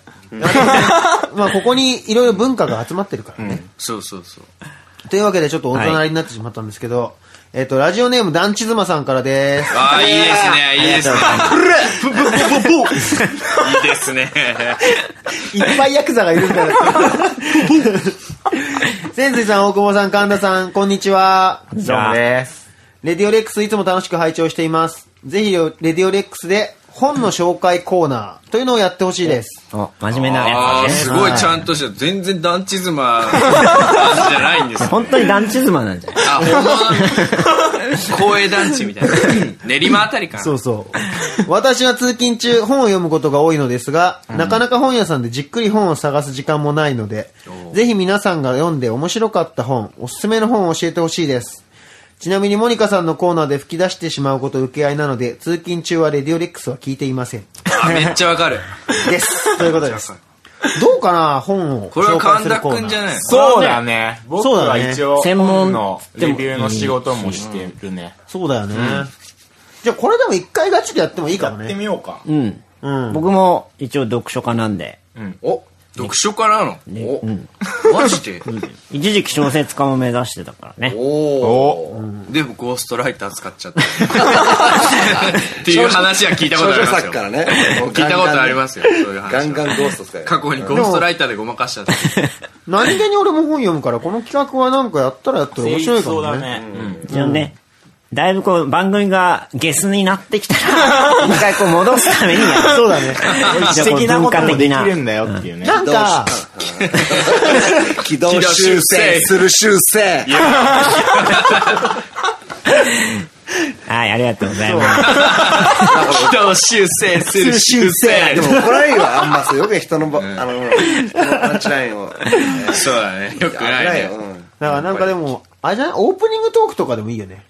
Speaker 1: まあ、ここにいろいろ文化が集まってるからね。
Speaker 5: そうそうそう。
Speaker 1: というわけで、ちょっと大人になってしまったんですけど、えっ、と、ラジオネーム、団地妻さんからです。
Speaker 5: ああ、いいですね、いいですね。 いいですね。
Speaker 1: いっぱいヤクザがいるんだよ。潜水さん、大久保さん、神田さん、こんにちは。
Speaker 3: じゃあ、
Speaker 2: です。
Speaker 1: レディオレックスいつも楽しく拝聴しています。ぜひ、レディオレックスで本の紹介コーナーというのをやってほしいです。
Speaker 3: お真面目な
Speaker 5: あ
Speaker 3: や
Speaker 5: あ、
Speaker 3: つ
Speaker 5: す
Speaker 3: だね。
Speaker 5: ごいちゃんとした。全然ダンチズマの感じじゃないんです。
Speaker 3: 本当に団地妻なんじゃない
Speaker 5: あ、ほんま、公営団地みた いな。練馬あたりかな。
Speaker 1: そうそう。私は通勤中本を読むことが多いのですが、なかなか本屋さんでじっくり本を探す時間もないので、ぜひ皆さんが読んで面白かった本、おすすめの本を教えてほしいです。ちなみにモニカさんのコーナーで吹き出してしまうこと受け合いなので、通勤中はレディオレックスは聞いていません。
Speaker 5: あめっちゃわかる。
Speaker 1: です。ということです。どうかな本を
Speaker 5: これは
Speaker 1: 紹介
Speaker 5: 神
Speaker 1: する
Speaker 5: 田
Speaker 1: コー
Speaker 5: く
Speaker 1: ナ
Speaker 5: ん
Speaker 1: ー。
Speaker 5: じゃないの
Speaker 2: そうだね。僕
Speaker 1: そうだ
Speaker 2: は
Speaker 1: ね
Speaker 2: 一応、
Speaker 3: 専門
Speaker 2: 本のレビューの仕事もしてるね。
Speaker 1: そうだよね。じゃあこれでも一回ガチでやってもいいかも
Speaker 2: やって
Speaker 1: ね。
Speaker 2: みようか。
Speaker 3: うん。
Speaker 1: うん。
Speaker 3: 僕も一応読書家なんで、
Speaker 8: お
Speaker 5: 読書家なのおマジで
Speaker 3: 一時期小説家も目指してたからね。
Speaker 8: おー
Speaker 5: でもゴーストライター使っちゃった。 っていう話は聞いたことあります
Speaker 8: 少女作
Speaker 5: よ。
Speaker 8: からね
Speaker 5: 聞いたことありますよ。そういう話は。
Speaker 8: ガンガンゴースト使え
Speaker 5: 過去にゴーストライターでごまかしちゃった。
Speaker 1: 何気に俺も本読むから、この企画はなんかやったらやったら面白いか
Speaker 2: そう
Speaker 1: も
Speaker 2: だ
Speaker 1: ね。
Speaker 2: ね。うん
Speaker 3: 一応ね、だいぶこう、番組がゲスになってきたら、一回こう戻すためにやる。
Speaker 1: そうだね。
Speaker 2: 歴史的なこともできるんだよっていうね。
Speaker 1: なんか、
Speaker 8: 軌道修正する修正
Speaker 3: はい、ありがとうございます。
Speaker 5: 人を修正する修
Speaker 8: で
Speaker 5: 正。
Speaker 8: も怒られるよあんまそうよく人のばあの人のパンチラインを
Speaker 5: そうだね。よくないね。
Speaker 8: うん
Speaker 1: だからなんかでも、あれじゃないオープニングトークとかでもいいよね。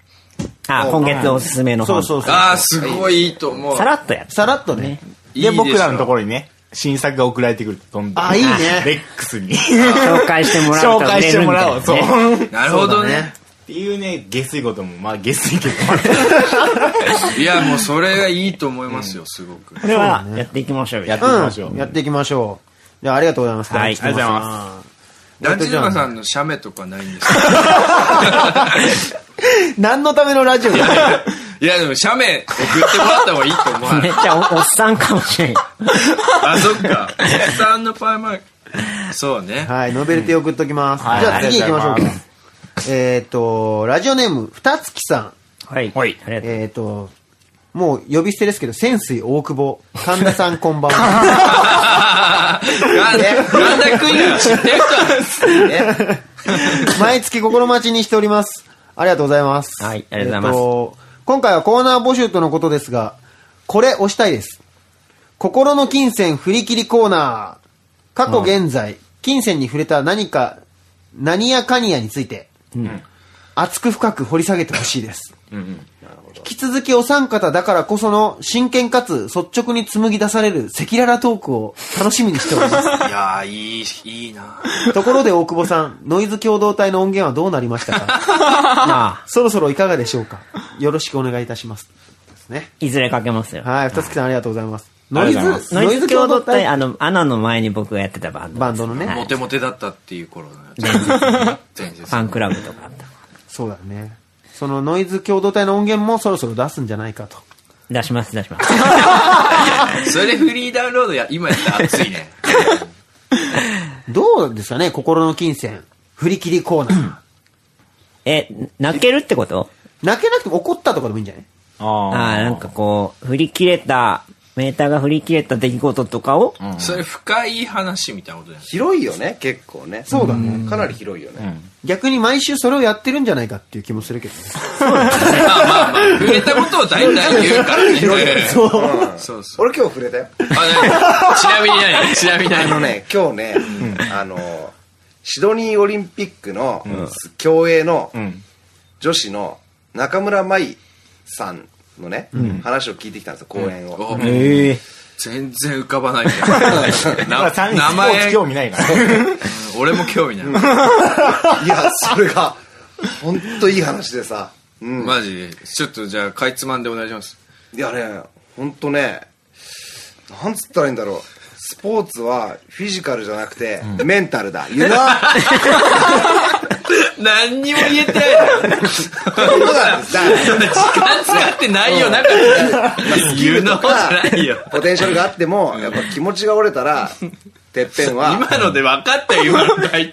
Speaker 3: あ、今月おすすめの
Speaker 1: そ
Speaker 3: 本。
Speaker 1: うそうそう。
Speaker 5: ああ、すごいいいと思う
Speaker 3: さ。らっとやる。
Speaker 1: さらっとね。
Speaker 5: いい
Speaker 2: で、
Speaker 5: しょ
Speaker 2: 僕らのところにね、新作が送られてくると、どんどん。
Speaker 1: あいいね
Speaker 2: レックス に。
Speaker 3: 紹介してもらう
Speaker 2: 紹
Speaker 3: と
Speaker 2: 介
Speaker 3: 売
Speaker 2: し
Speaker 3: れ
Speaker 2: て
Speaker 3: るみ
Speaker 2: も
Speaker 3: たい
Speaker 2: ら
Speaker 3: な
Speaker 2: おう。
Speaker 3: ね
Speaker 2: そう。っ
Speaker 5: なるほどね。
Speaker 2: ていうね、下水ことも、まあ下水けど。
Speaker 5: いや、もうそれがいいと思いますよ、すごく。
Speaker 3: これはやっていきましょうよ。
Speaker 2: やっていきましょう。
Speaker 1: うん。やっていきましょう。じゃあありがとうございます。
Speaker 3: はい
Speaker 2: ありがとうございます。
Speaker 5: ダンチジマさんの写メとかないんですか
Speaker 1: 何のためのラジオだよ
Speaker 5: いいや、でも、写メ送ってもらった方がいいと 思わな
Speaker 3: めっ
Speaker 5: い。
Speaker 3: ちゃおおっさんかもしれん。
Speaker 5: あ、そっか。おっさんのパーマ、そうね。
Speaker 1: はい、ノベルティ送っときます。
Speaker 2: はい
Speaker 1: じゃあ次行きましょう
Speaker 2: ありがとうござい
Speaker 1: か。えっと、ラジオネーム、ふたつきさん。
Speaker 3: はい。
Speaker 2: はい
Speaker 3: ありがとう。
Speaker 1: えっと、もう呼び捨てですけど、潜水大久保。神田さんこんばんは。
Speaker 5: なんで、なんだクイーン知ってる人なんですね。
Speaker 1: 毎月心待ちにしております。ありがとうございます。
Speaker 3: はいありがとうございます
Speaker 1: えーと今回はコーナー募集とのことですが、これ押したいです。心の金銭振り切りコーナー。過去現在、金銭に触れた何か、何やかにやについて、熱く深く掘り下げてほしいです。引き続きお三方だからこその真剣かつ率直に紡ぎ出される赤裸々トークを楽しみにしております。
Speaker 5: いやー、いい、いいな
Speaker 1: ところで大久保さん、ノイズ共同体の音源はどうなりましたか
Speaker 3: まあ、
Speaker 1: そろそろいかがでしょうかよろしくお願いいたします。ですね。
Speaker 3: いずれかけますよ。
Speaker 1: はい、二月さんありがとうございます。ノ
Speaker 2: あ
Speaker 1: イ
Speaker 2: り
Speaker 1: ズ
Speaker 2: がとうございま、
Speaker 3: ノイズ共同体、あの、アナの前に僕がやってたバンド。
Speaker 1: バンドのね、
Speaker 5: モテモテだったっていう頃の
Speaker 3: 伝説
Speaker 5: 前日
Speaker 3: フ。ァンクラブとかあった。
Speaker 1: そうだね。そのノイズ共同体の音源もそろそろ出すんじゃないかと。
Speaker 3: 出します、出します。
Speaker 5: それでフリーダウンロードや、今やったら熱いね。
Speaker 1: どうですかね心の金銭。振り切りコーナ
Speaker 3: え、泣けるってこと
Speaker 1: ー。泣けなくても怒ったとかでもいいんじゃない
Speaker 3: あ
Speaker 2: あ
Speaker 3: あ、なんかこう、振り切れた、メーターが振り切れた出来事とかを、
Speaker 5: それ深い話みたいなことじゃない
Speaker 8: 広いよね、結構ね。そうだね。かなり広いよね。
Speaker 1: 逆に毎週それをやってるんじゃないかっていう気もするけどね。
Speaker 5: まあまあまあ、触れたことを大体言うからね。そう。そうそう。
Speaker 8: 俺今日触れたよ。
Speaker 5: あ何ちなみに何ちなみに
Speaker 8: あ
Speaker 5: 何
Speaker 8: のね、今日ね、あの、シドニーオリンピックの競泳の女子の中村舞さんのね、話を聞いてきたんですよ、講演を。
Speaker 5: お
Speaker 3: ええ
Speaker 5: 全然浮かばないみたい
Speaker 2: だ
Speaker 5: な
Speaker 2: から
Speaker 5: な
Speaker 2: 3人
Speaker 5: 名
Speaker 2: スポーツ
Speaker 5: 前、
Speaker 2: 興味ないから。
Speaker 5: 俺も興味ない。
Speaker 8: いや、それが、ほんといい話でさ。うん。
Speaker 5: マジで。ちょっとじゃあ、かいつまんでお願いします。
Speaker 8: いやね、ほんとね、なんつったらいいんだろう。スポーツはフィジカルじゃなくて、メンタルだ。言うな
Speaker 5: 何にも言えてないの
Speaker 8: そうなんです。だから
Speaker 5: 時間使ってないよ、なかった。言うのじゃないよ。
Speaker 8: ポテンシャルがあっても、やっぱ気持ちが折れ たら、てっぺんは、
Speaker 5: 今ので分かったよ、今の大体。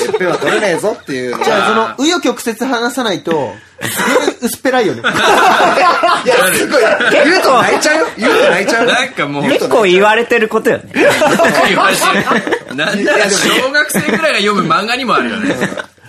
Speaker 8: てっぺんは取れねえぞっ ていうの
Speaker 1: じゃあそ
Speaker 8: が。
Speaker 1: の、紆余曲折話さないと、すごい薄っぺらいよね。
Speaker 8: いや、すごい。言うと泣いちゃ うよ。言うと泣いちゃうよ。
Speaker 5: なんかもう、
Speaker 3: 結構言われてることよね。
Speaker 5: なんなら小学生くらいが読む漫画にもあるよね。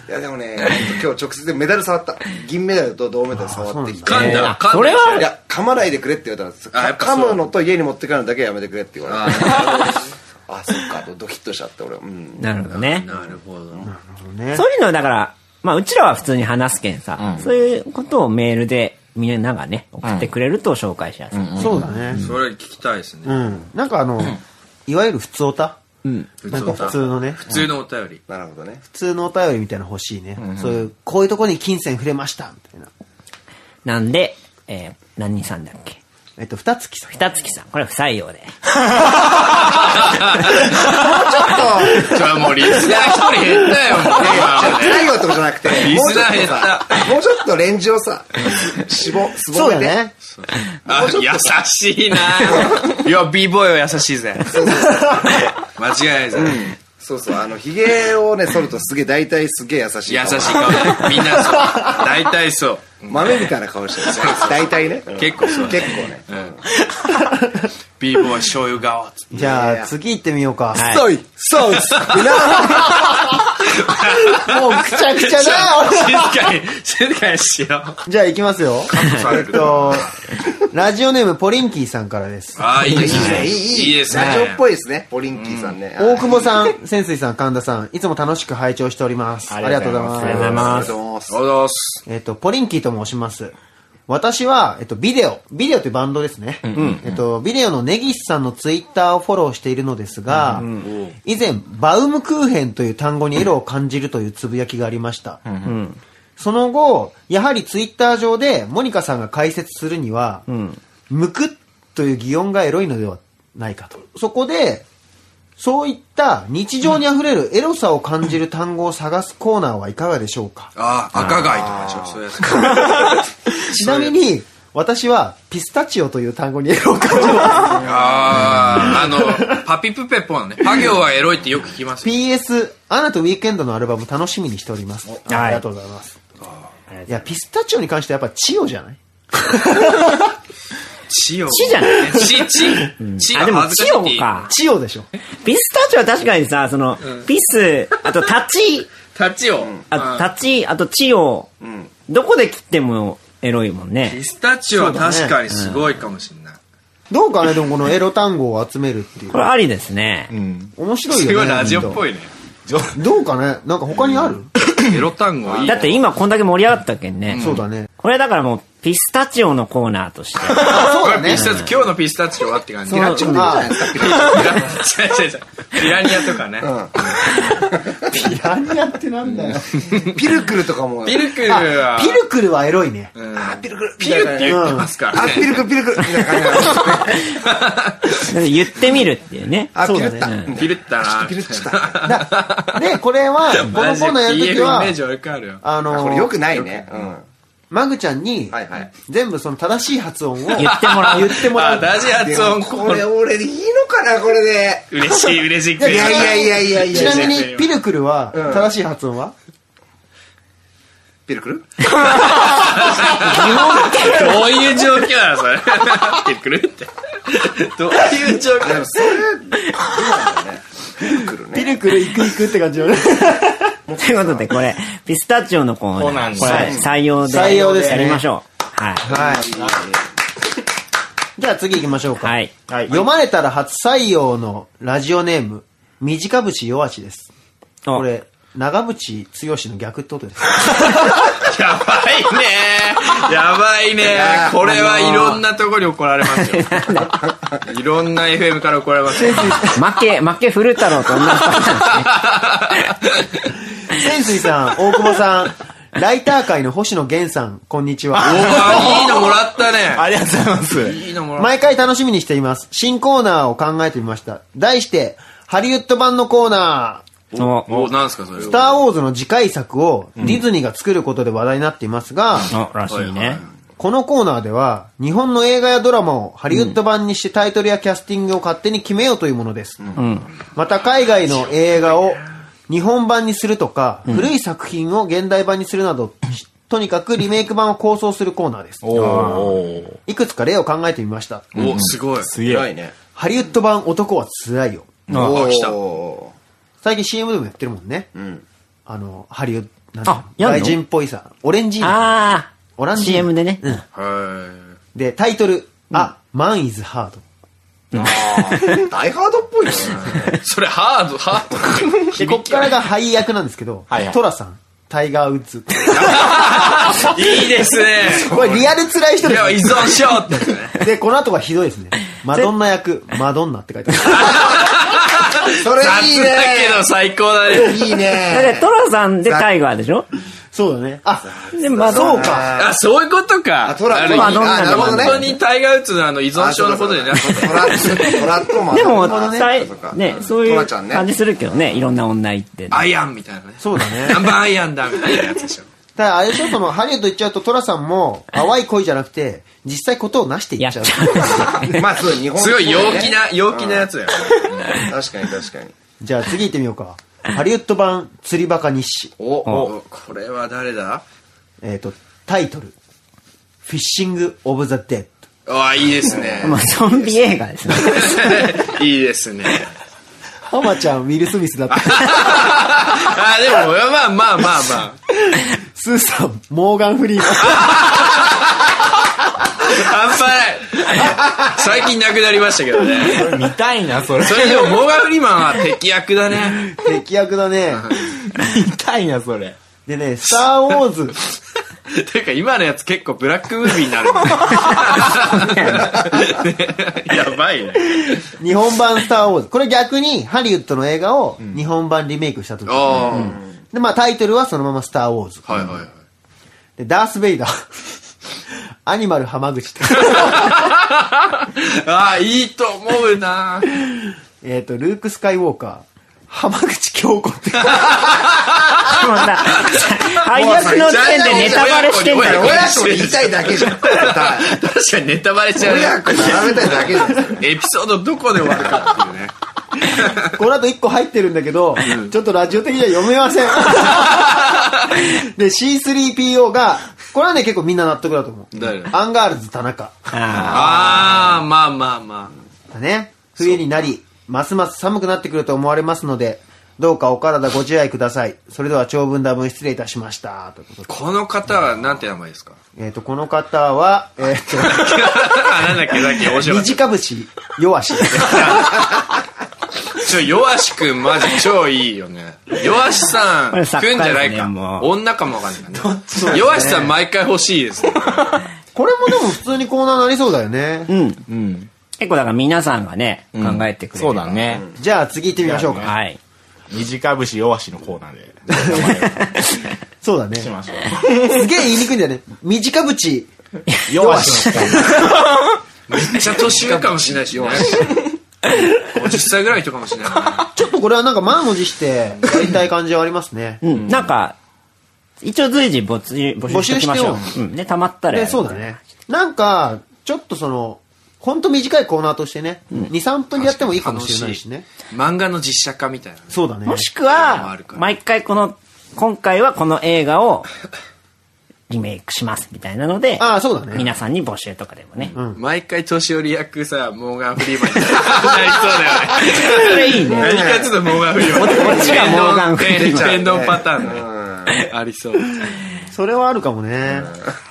Speaker 8: いや、でもね、今日直接メダル触った。銀メダルと銅メダル触ってきて。
Speaker 5: 噛んだ、噛んだ。
Speaker 3: それはい
Speaker 8: や、噛まないでくれって言われたんです。
Speaker 5: あやっぱそ
Speaker 8: 噛
Speaker 5: う
Speaker 8: むのと家に持って帰るのだけはやめてくれって言われた。 あ、そっか、とドキッとしちゃって、俺。うん。
Speaker 3: なるほどね。
Speaker 5: なるほど。
Speaker 3: そういうのだから、まあ、うちらは普通に話すけんさ、そういうことをメールでみんながね、送ってくれると紹介しやすい。
Speaker 1: そうだね。
Speaker 5: それ聞きたいですね。
Speaker 1: うん。なんかあの、いわゆる普通おた
Speaker 5: 普
Speaker 1: な
Speaker 5: 通
Speaker 1: んか
Speaker 5: の
Speaker 1: 普通のね。
Speaker 5: 普通のお便り。
Speaker 8: なるほど ね。
Speaker 1: 普通のお便りみたいなの欲しいね、そういうこういうとこに金銭触れましたみたいな
Speaker 3: なんで、えー、何人さんだっけ
Speaker 1: えっと二月さん
Speaker 3: 二月さん、これは不採用で。
Speaker 5: じゃあもうリスナー一人減ったよ、もう今ね
Speaker 8: 太陽ってことじゃなくて、
Speaker 5: リ
Speaker 8: もう
Speaker 5: ス
Speaker 8: ちょ
Speaker 5: ナ
Speaker 8: っ
Speaker 5: ー減
Speaker 8: と
Speaker 5: っ
Speaker 8: さ、
Speaker 5: た。
Speaker 8: もうちょっとレンジをさ、しぼ、すぼ
Speaker 1: そうだ
Speaker 8: めて。
Speaker 1: ね
Speaker 5: あ、優しいな。いや、b ボーイは優しいぜ。間違いないぜ。
Speaker 8: そうそう、あの、髭をね、剃るとすげえ、大体すげえ優しい。
Speaker 5: 優しい。顔だみんなそう。大体そう。
Speaker 8: 豆みたいな顔してる。 大体ね。
Speaker 5: 結構そう
Speaker 8: 結構ね。
Speaker 5: b ボーイ醤油顔。
Speaker 1: じゃあ次行ってみようか、
Speaker 8: そうい、そうい、
Speaker 1: もうくちゃくちゃだよ
Speaker 5: 静かに、静かにしよう。
Speaker 1: じゃあ行きますよ
Speaker 5: され
Speaker 1: え
Speaker 5: る
Speaker 1: っとラジオネームポリンキーさんからです
Speaker 5: あ あ、いいですね。
Speaker 8: いい、いい、
Speaker 5: いいですね。
Speaker 8: ラジオっぽいですね。ポリンキーさんね。
Speaker 1: 大久保さん潜水さん神田さんいつも楽しく拝聴しておりますあ
Speaker 2: あ
Speaker 1: り
Speaker 2: り
Speaker 1: が
Speaker 2: が
Speaker 1: と
Speaker 2: と
Speaker 1: う
Speaker 2: う
Speaker 1: ご
Speaker 2: ご
Speaker 1: ざ
Speaker 2: ざ
Speaker 1: いま
Speaker 2: いますす
Speaker 8: ありがとうございます。
Speaker 5: おはようございます。
Speaker 1: えっと、ポリンキーと申します。私は、えっと、ビデオ、ビデオというバンドですね。えっと、ビデオのネギスさんのツイッターをフォローしているのですが、以前、バウムクーヘンという単語にエロを感じるというつぶやきがありました。その後、やはりツイッター上でモニカさんが解説するには、むくっという擬音がエロいのではないかと。そこで、そういった日常にあふれるエロさを感じる単語を探すコーナーはいかがでしょうか
Speaker 5: ああ、赤貝とかでしょ、そういうやつ。
Speaker 1: ちなみに、私はピスタチオという単語にエロを感じます。
Speaker 5: あー、あの、パピプペポンね。パ行はエロいってよく聞きます。
Speaker 1: PS、アナとウィークエンドのアルバム楽しみにしております。ありがとうございます。いや、ピスタチオに関してはやっぱチオじゃない
Speaker 5: チよ。
Speaker 3: チじゃない
Speaker 5: チ、チ。チ
Speaker 3: あ、でも、
Speaker 5: 恥ず
Speaker 3: チ
Speaker 5: かしい
Speaker 3: オか。
Speaker 1: チオでしょ。
Speaker 3: ピスタチオは確かにさ、その、ピス、あとタチ、
Speaker 5: タチオ。
Speaker 3: あとタチ、あとチオ、どこで切ってもエロいもんね
Speaker 5: ピ。スタチオは確かにすごいかもしれない。
Speaker 1: どうかね、でもこのエロ単語を集めるっていう
Speaker 3: こ。れありですね。
Speaker 1: 面白いよ
Speaker 5: す
Speaker 1: ね。
Speaker 5: ごいラジオっ
Speaker 1: い。
Speaker 5: ぽいね。
Speaker 1: どうかね、なんか他にある、
Speaker 5: エロ単語いい。
Speaker 3: だって今こんだけ盛り上がったけんね。
Speaker 1: そうだね。
Speaker 3: これだからもう、ピスタチオのコーナーとして。
Speaker 1: そうだね
Speaker 5: ピ。スタチオ、今日のピスタチオはって感じ。
Speaker 1: そう
Speaker 5: ピラ
Speaker 1: だ
Speaker 5: チオ違う
Speaker 1: あ
Speaker 5: 違う違う。ピラニアとかね。
Speaker 1: ピラニアってなんだよ。
Speaker 8: ピルクルとかも。
Speaker 5: ピルクル
Speaker 1: あ
Speaker 5: は、
Speaker 1: ピルクルはエロいね。
Speaker 8: あ、ピルクル。
Speaker 5: ピルって言ってますから
Speaker 8: あ、ピ
Speaker 5: ね。
Speaker 8: ルクル、ピルクル。みたいな感じなんですね
Speaker 3: 言ってみるっていうね。
Speaker 8: あ、
Speaker 1: そう
Speaker 8: ピ
Speaker 1: だ
Speaker 8: ル
Speaker 1: ね
Speaker 8: った。
Speaker 5: ピルったな。
Speaker 8: ピルった。
Speaker 1: だ で、これは、こ
Speaker 5: マ
Speaker 1: の
Speaker 5: ジ
Speaker 1: コ
Speaker 5: で
Speaker 1: ーナーやるとき
Speaker 5: PF イメー
Speaker 1: は、
Speaker 5: ジ悪くあるよ。
Speaker 1: あ
Speaker 8: これ良
Speaker 1: の、
Speaker 8: くないね。うん。
Speaker 1: マグちゃんに
Speaker 8: はいはい、
Speaker 1: 全部その正しい発音を
Speaker 3: 言ってもらう
Speaker 1: 言ってもら
Speaker 5: あ、
Speaker 1: う。
Speaker 5: 大事発音
Speaker 8: これ俺でいいのかな、これで。
Speaker 5: 嬉しい、嬉しい。
Speaker 8: いやいやいやいやいや。
Speaker 1: ちなみに、ピルクルは、正しい発音は
Speaker 8: ピルクル
Speaker 5: どういう状況なのそれ。ピルクルって。どういう状況
Speaker 8: でもそれ、どうなんだろうね。ピルクル
Speaker 1: ピ
Speaker 8: ね。
Speaker 1: ルクル行く行くって感じよね。
Speaker 3: ということで、これ、ピスタチオのコ
Speaker 2: コ
Speaker 3: ー
Speaker 2: ーナ
Speaker 3: ナ
Speaker 2: ー
Speaker 3: ー、
Speaker 2: に
Speaker 3: これ採用で、
Speaker 1: 採用です
Speaker 3: や
Speaker 1: ね
Speaker 3: りましょう。はい。
Speaker 1: じゃあ次行きましょうか。
Speaker 3: はい。
Speaker 1: 読まれたら初採用のラジオネーム、短渕弱しです。
Speaker 3: お
Speaker 1: これ、長渕剛の逆ってことです。
Speaker 5: やばいねやばいねこれはいろんなとこに怒られますよ。いろんな FM から怒られ ますよ。
Speaker 3: 負け、負け古太郎と同じパターンですね。
Speaker 1: 潜水さん、大久保さん、ライター界の星野源さん、こんにち
Speaker 5: お
Speaker 1: は。
Speaker 5: ーいいのもらったね
Speaker 2: ありがとうございます。
Speaker 5: いいのもらった。
Speaker 1: 毎回楽しみにしています。新コーナーを考えてみました。題して、ハリウッド版のコーナー。
Speaker 3: お
Speaker 5: お、なんすかそれ。
Speaker 1: スター・ウォーズの次回作をディズニーが作ることで話題になっていますが、
Speaker 3: お、らしいね。
Speaker 1: このコーナーでは、日本の映画やドラマをハリウッド版にしてタイトルやキャスティングを勝手に決めようというものです。また海外の映画を日本版にするとか、古い作品を現代版にするなど、とにかくリメイク版を構想するコーナーです。
Speaker 2: お
Speaker 1: いくつか例を考えてみました。
Speaker 5: お、すごい。
Speaker 2: すげえ。
Speaker 8: いね。
Speaker 1: ハリウッド版男は辛いよ。
Speaker 5: あ、来た。
Speaker 8: お
Speaker 1: 最近 CM でもやってるもんね。あの、ハリウッド、なん
Speaker 3: あ
Speaker 1: だ
Speaker 3: やんの
Speaker 1: 外人っぽいさ、オレンジーナ
Speaker 3: あ
Speaker 1: オラン
Speaker 3: ー、
Speaker 1: ジーナ
Speaker 3: CM でね。
Speaker 5: は
Speaker 1: で、タイトル、あ、マンイズハード。
Speaker 8: ーダイハードっぽいね。
Speaker 5: い。それハード、ハード。
Speaker 1: で、こっからが配役なんですけど、
Speaker 2: はいはい
Speaker 1: トラさん、タイガー・ウッズ。
Speaker 5: いいですね。
Speaker 1: これリアル辛い人
Speaker 5: い
Speaker 1: で
Speaker 5: や、依
Speaker 1: す
Speaker 5: 存症ってやつね。
Speaker 1: ね。で、この後がひどいですね。マドンナ役、マドンナって書いてあ
Speaker 8: それ
Speaker 5: 雑
Speaker 8: いい
Speaker 5: だけ
Speaker 8: ね。
Speaker 5: ど最高だね。
Speaker 8: いい
Speaker 3: だっ
Speaker 8: ね。
Speaker 3: てトラさんでタイガーでしょ
Speaker 1: る。そうだね。あ、
Speaker 3: で、まあ、
Speaker 1: そうか。
Speaker 5: あ、そういうことか。
Speaker 8: あ、トラ、
Speaker 5: あ
Speaker 8: ト
Speaker 5: の
Speaker 8: ラ、
Speaker 3: ま
Speaker 8: あ、
Speaker 3: あどんな
Speaker 8: なるほど
Speaker 5: 本
Speaker 8: ね。
Speaker 5: 当にタイガー・ウッズのあの依存症のことになって
Speaker 8: トラ、トラとマ
Speaker 3: でも、
Speaker 8: マ
Speaker 3: タイ
Speaker 8: そっか
Speaker 3: ね、そうい
Speaker 8: ト
Speaker 3: う
Speaker 8: ラちゃんね
Speaker 3: 感じするけどね、いろんな女行って。
Speaker 5: アイアンみたいなね。
Speaker 1: そうだね。
Speaker 5: ナンバーアイアンだみたいなやつでし ょ。
Speaker 1: ただ、あれでしょ、その、ハリウッド行っちゃうとトラさんも、淡い恋じゃなくて、実際ことをなしてい
Speaker 3: や
Speaker 1: っ
Speaker 3: っ
Speaker 1: ち
Speaker 3: ち
Speaker 1: ゃ
Speaker 3: ゃ
Speaker 1: う。
Speaker 8: まあ、そう、日本
Speaker 5: すごい陽気。な、陽気なやつだよ。
Speaker 8: 確かに確 かに。
Speaker 1: じゃあ次行ってみようか。ハリウッド版、釣りバカ日誌。
Speaker 5: お、お、これは誰だ
Speaker 1: えっと、タイトル、フィッシング・オブ・ザ・デッド。
Speaker 5: あ、いいですね
Speaker 3: う。 まあ、ゾンビ映画ですね。
Speaker 5: いいですね。
Speaker 1: ハマちゃん、ウィル・スミスだった。
Speaker 5: あ、でも、まあまあまあま
Speaker 1: スーさん、モーガン・フリーマン。
Speaker 5: あ。半端ない。最近亡くなりましたけどね。
Speaker 2: 見た いな、それ。
Speaker 5: それでも、モーガン・フリーマンは敵役だね。
Speaker 1: 敵役だね。
Speaker 2: 見たいな、それ。
Speaker 1: でね、スター・ウォーズ。
Speaker 5: ていうか、今のやつ結構ブラックムービーになるね。ね やばいね。
Speaker 1: 日本版スター・ウォーズ。これ逆に、ハリウッドの映画を日本版リメイクした時、
Speaker 5: ああ、
Speaker 1: で、まあタイトルはそのままスター・ウォーズ。
Speaker 5: はいはいはい。
Speaker 1: で、ダー ス・ベイダー。アニマル浜 口って。
Speaker 5: ああ、いいと思うな。
Speaker 1: えっと、ルーク・ス カイ・ウォーカー。浜口京子って。
Speaker 3: また、俳最悪の時点でネタバレしてんだろ。
Speaker 8: 親子に言いたいだけじゃん。
Speaker 5: 確かにネタバレしちゃう
Speaker 8: 親
Speaker 5: ね
Speaker 8: 子に並べたいだけじゃん。
Speaker 5: エピソードどこで終わる かっていうね
Speaker 1: この後1個入ってるんだけど、ちょっとラジオ的には読めませ ん。で、C3PO が、これはね、結構みんな納得だと思う。
Speaker 5: 誰だ
Speaker 1: アンガールズ田中。
Speaker 5: ああまあまあま
Speaker 1: だね。冬になり、ますます寒くなってくると思われますので、どうかお体ご自愛ください。それでは長文多文失礼いたしました。ということ
Speaker 5: あ
Speaker 1: で
Speaker 5: この方はなんて名 前ですか
Speaker 1: えっ、と、この方は、えっ、
Speaker 5: あなんだっけさっき面
Speaker 1: と、
Speaker 5: 白かっ
Speaker 1: 短節、弱し。
Speaker 5: たちょ弱しくんマジ超いいよね弱しさん
Speaker 3: これ作
Speaker 5: く
Speaker 3: 家
Speaker 5: んじゃな
Speaker 3: で
Speaker 5: い
Speaker 3: すね
Speaker 5: か
Speaker 3: もう
Speaker 5: 女かもわかんないからね弱しさん毎回欲しいですね
Speaker 1: これもでも普通にコーナーなりそうだよね。
Speaker 2: うん。
Speaker 3: 結構だから皆さんがね、考えてくれる。
Speaker 2: そうだ。ね。
Speaker 1: じゃあ次行ってみましょうか。
Speaker 3: はい。
Speaker 2: 短節弱しのコーナーで。
Speaker 1: そうだね。
Speaker 2: しましょう。
Speaker 1: すげえ言いにくいんだよね。短渕。
Speaker 2: 弱しのコーナー。
Speaker 5: めっちゃ年上かもしれな いし弱し50歳ぐらいの人かもしれない
Speaker 1: ちょっとこれはなんか満を持してやりたい感じはありますね。
Speaker 3: うん。なんか、一応随時募集募集しておきましょ
Speaker 1: 募集し
Speaker 3: う。うん。ね、溜まったら。
Speaker 1: で、そうだ。ね。なんか、ちょっとその、ほんと短いコーナーとしてね、2、3分でやってもいいかもしれないしね。
Speaker 5: 漫画の実写化みたいな
Speaker 1: そうだね。
Speaker 3: もしく
Speaker 5: もあ
Speaker 3: は
Speaker 5: るか、ら
Speaker 3: 毎回この、今回はこの映画を、リメイクしますみたいなので、
Speaker 1: ああ、そうだね。
Speaker 3: 皆さんに募集とかでもね。
Speaker 5: 毎回年寄り役さモーガン・フリーマンになり そうだよ ね
Speaker 3: いいね。
Speaker 5: 何かちょっとモーガン・フリーマン
Speaker 3: こっちがモーガンフリーマン
Speaker 5: 天丼天丼パターンねありそう
Speaker 1: それはあるかもね。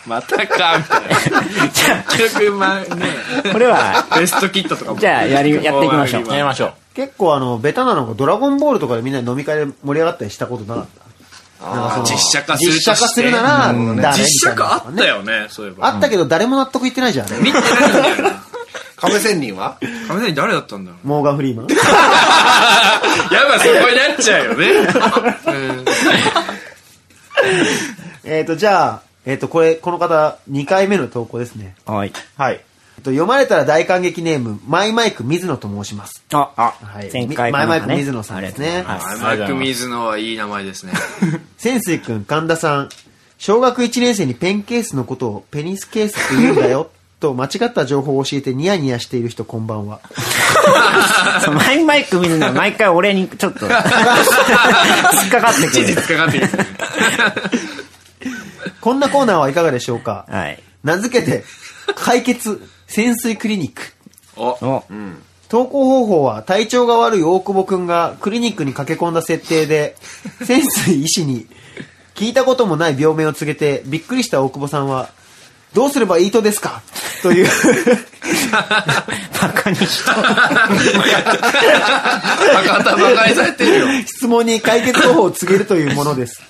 Speaker 5: またかみたいな結局まあね
Speaker 3: これは、
Speaker 5: ベストキットとかも
Speaker 3: じゃあやりやっていきましょう
Speaker 2: や
Speaker 5: モーガンフリー
Speaker 2: り
Speaker 5: マン
Speaker 2: ましょう。
Speaker 1: 結構あの、ベタなのがドラゴンボールとかでみんなで飲み会で盛り上がったりしたことなかった。
Speaker 5: 実写化する
Speaker 1: 実写化するなら、誰
Speaker 5: 実写化あ
Speaker 1: み
Speaker 5: った
Speaker 1: い
Speaker 5: た
Speaker 1: なのがね
Speaker 5: よねそういえば
Speaker 1: あったけど誰も納得いってないじゃん、あれ。
Speaker 5: 見てないんだよな
Speaker 8: 亀仙 人は
Speaker 5: 雷誰だったんだろ
Speaker 1: モーガン・フリーマン。
Speaker 5: うやっぱそこになっちゃうよねうん
Speaker 1: えっと、じゃあ、えっと、これ、この方、2回目の投稿ですね。
Speaker 3: はい。
Speaker 2: はい。
Speaker 1: えっと読まれたら大感激ネーム、マイマイク水野と申します。
Speaker 3: あ、
Speaker 1: はい
Speaker 3: 前回か
Speaker 1: マ
Speaker 3: ら
Speaker 1: イ
Speaker 3: ね
Speaker 1: マイク水野さんですね。
Speaker 3: ありがとうございます
Speaker 5: マーク・ミズノはいい名前ですね
Speaker 1: 潜水君、神田さん、小学1年生にペンケースのことをペニスケースって言うんだよ、と間違った情報を教えてニヤニヤしている人こんばんは。
Speaker 3: そうマイマイク見るのは毎回俺にちょっと、引っかかってく
Speaker 5: 事実
Speaker 3: る。
Speaker 5: かかってきてる
Speaker 1: こんなコーナーはいかがでしょうか
Speaker 3: はい。
Speaker 1: 名付けて、解決、潜水クリニック。
Speaker 5: お
Speaker 3: お、
Speaker 1: 投稿方法は体調が悪い大久保くんがクリニックに駆け込んだ設定で、潜水医師に聞いたこともない病名を告げてびっくりした大久保さんは、どうすればいいとですかという
Speaker 3: バカにした。
Speaker 5: 博多バカにされてるよ
Speaker 1: 質問に解決方法を告げるというもの です。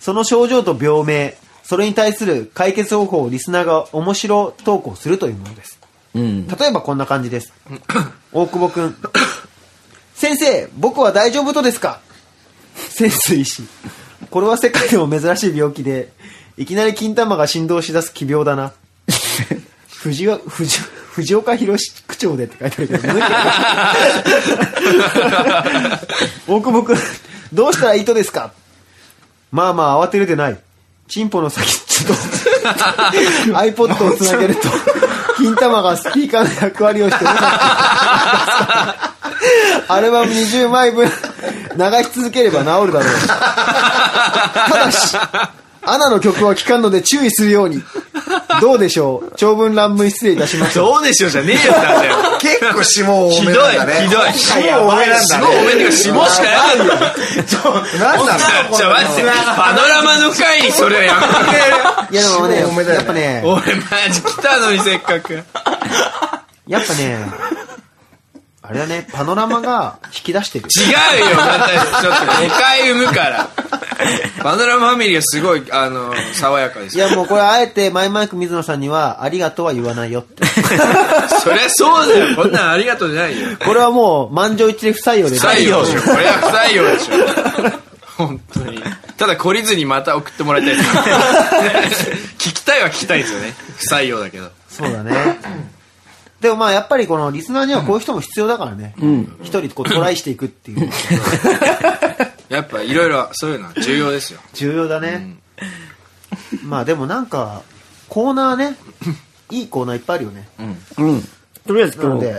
Speaker 1: その症状と病名、それに対する解決方法をリスナーが面白投稿するというものです。例えばこんな感じ です。大久保くん。先生、僕は大丈夫とですか潜水 士。これは世界でも珍しい病気で、いきなり金玉が振動しだす奇病だな。 藤岡、藤藤岡弘区長でって書いてあるけど、無理大久保くん、どうしたらいいとですかまあまあ、慌てるでない。チンポの先っちょと、iPod をつなげると、金玉がスピーカーの役割をしてる、アルバム20枚分、流し続ければ治るだろう。ただし、アナの曲は聴かんので注意するように。どうでしょう長文乱文失礼いたしました。
Speaker 5: どうでしょうじゃねえよだよ
Speaker 8: 結構下多
Speaker 5: ひ
Speaker 8: め
Speaker 5: どい
Speaker 8: なんだね。
Speaker 5: ひどい
Speaker 8: 下多めなんだ
Speaker 5: 下
Speaker 8: ね。
Speaker 5: 多めっていうか下しかないよ
Speaker 8: なんだろう
Speaker 5: じゃあ待ってパノラマの回にそれはやめ
Speaker 1: いやでもね
Speaker 8: 下多めだよね
Speaker 1: やっぱね、
Speaker 5: てくれ俺マジ来たのにせっかく
Speaker 1: やっぱね、あれだね、パノラマが引き出してる。
Speaker 5: 違うよまたちょっと誤回生むからパノラマファミリーはすごいあの爽やかです
Speaker 1: いやもうこれあえてマイマイク水野さんにはありがとうは言わないよって。
Speaker 5: そりゃそうだよこんなんありがとうじゃないよ
Speaker 1: これはもう満場一致で不採用で
Speaker 5: 不
Speaker 1: す。
Speaker 5: 採用でしょこれは不採用でしょ本当にただ懲りずにまた送ってもらいたいです 聞きたいは聞きたいんですよね不採用だけど
Speaker 1: そうだね。でもまあやっぱりこのリスナーにはこういう人も必要だからね。一人こうトライしていくっていう。
Speaker 5: やっぱいろいろそういうのは重要ですよ
Speaker 1: 重要だね。まあでもなんか、コーナーね、いいコーナーいっぱいあるよね。
Speaker 3: うん。とりあえず
Speaker 1: な
Speaker 3: 今
Speaker 1: の
Speaker 3: 日、
Speaker 1: で、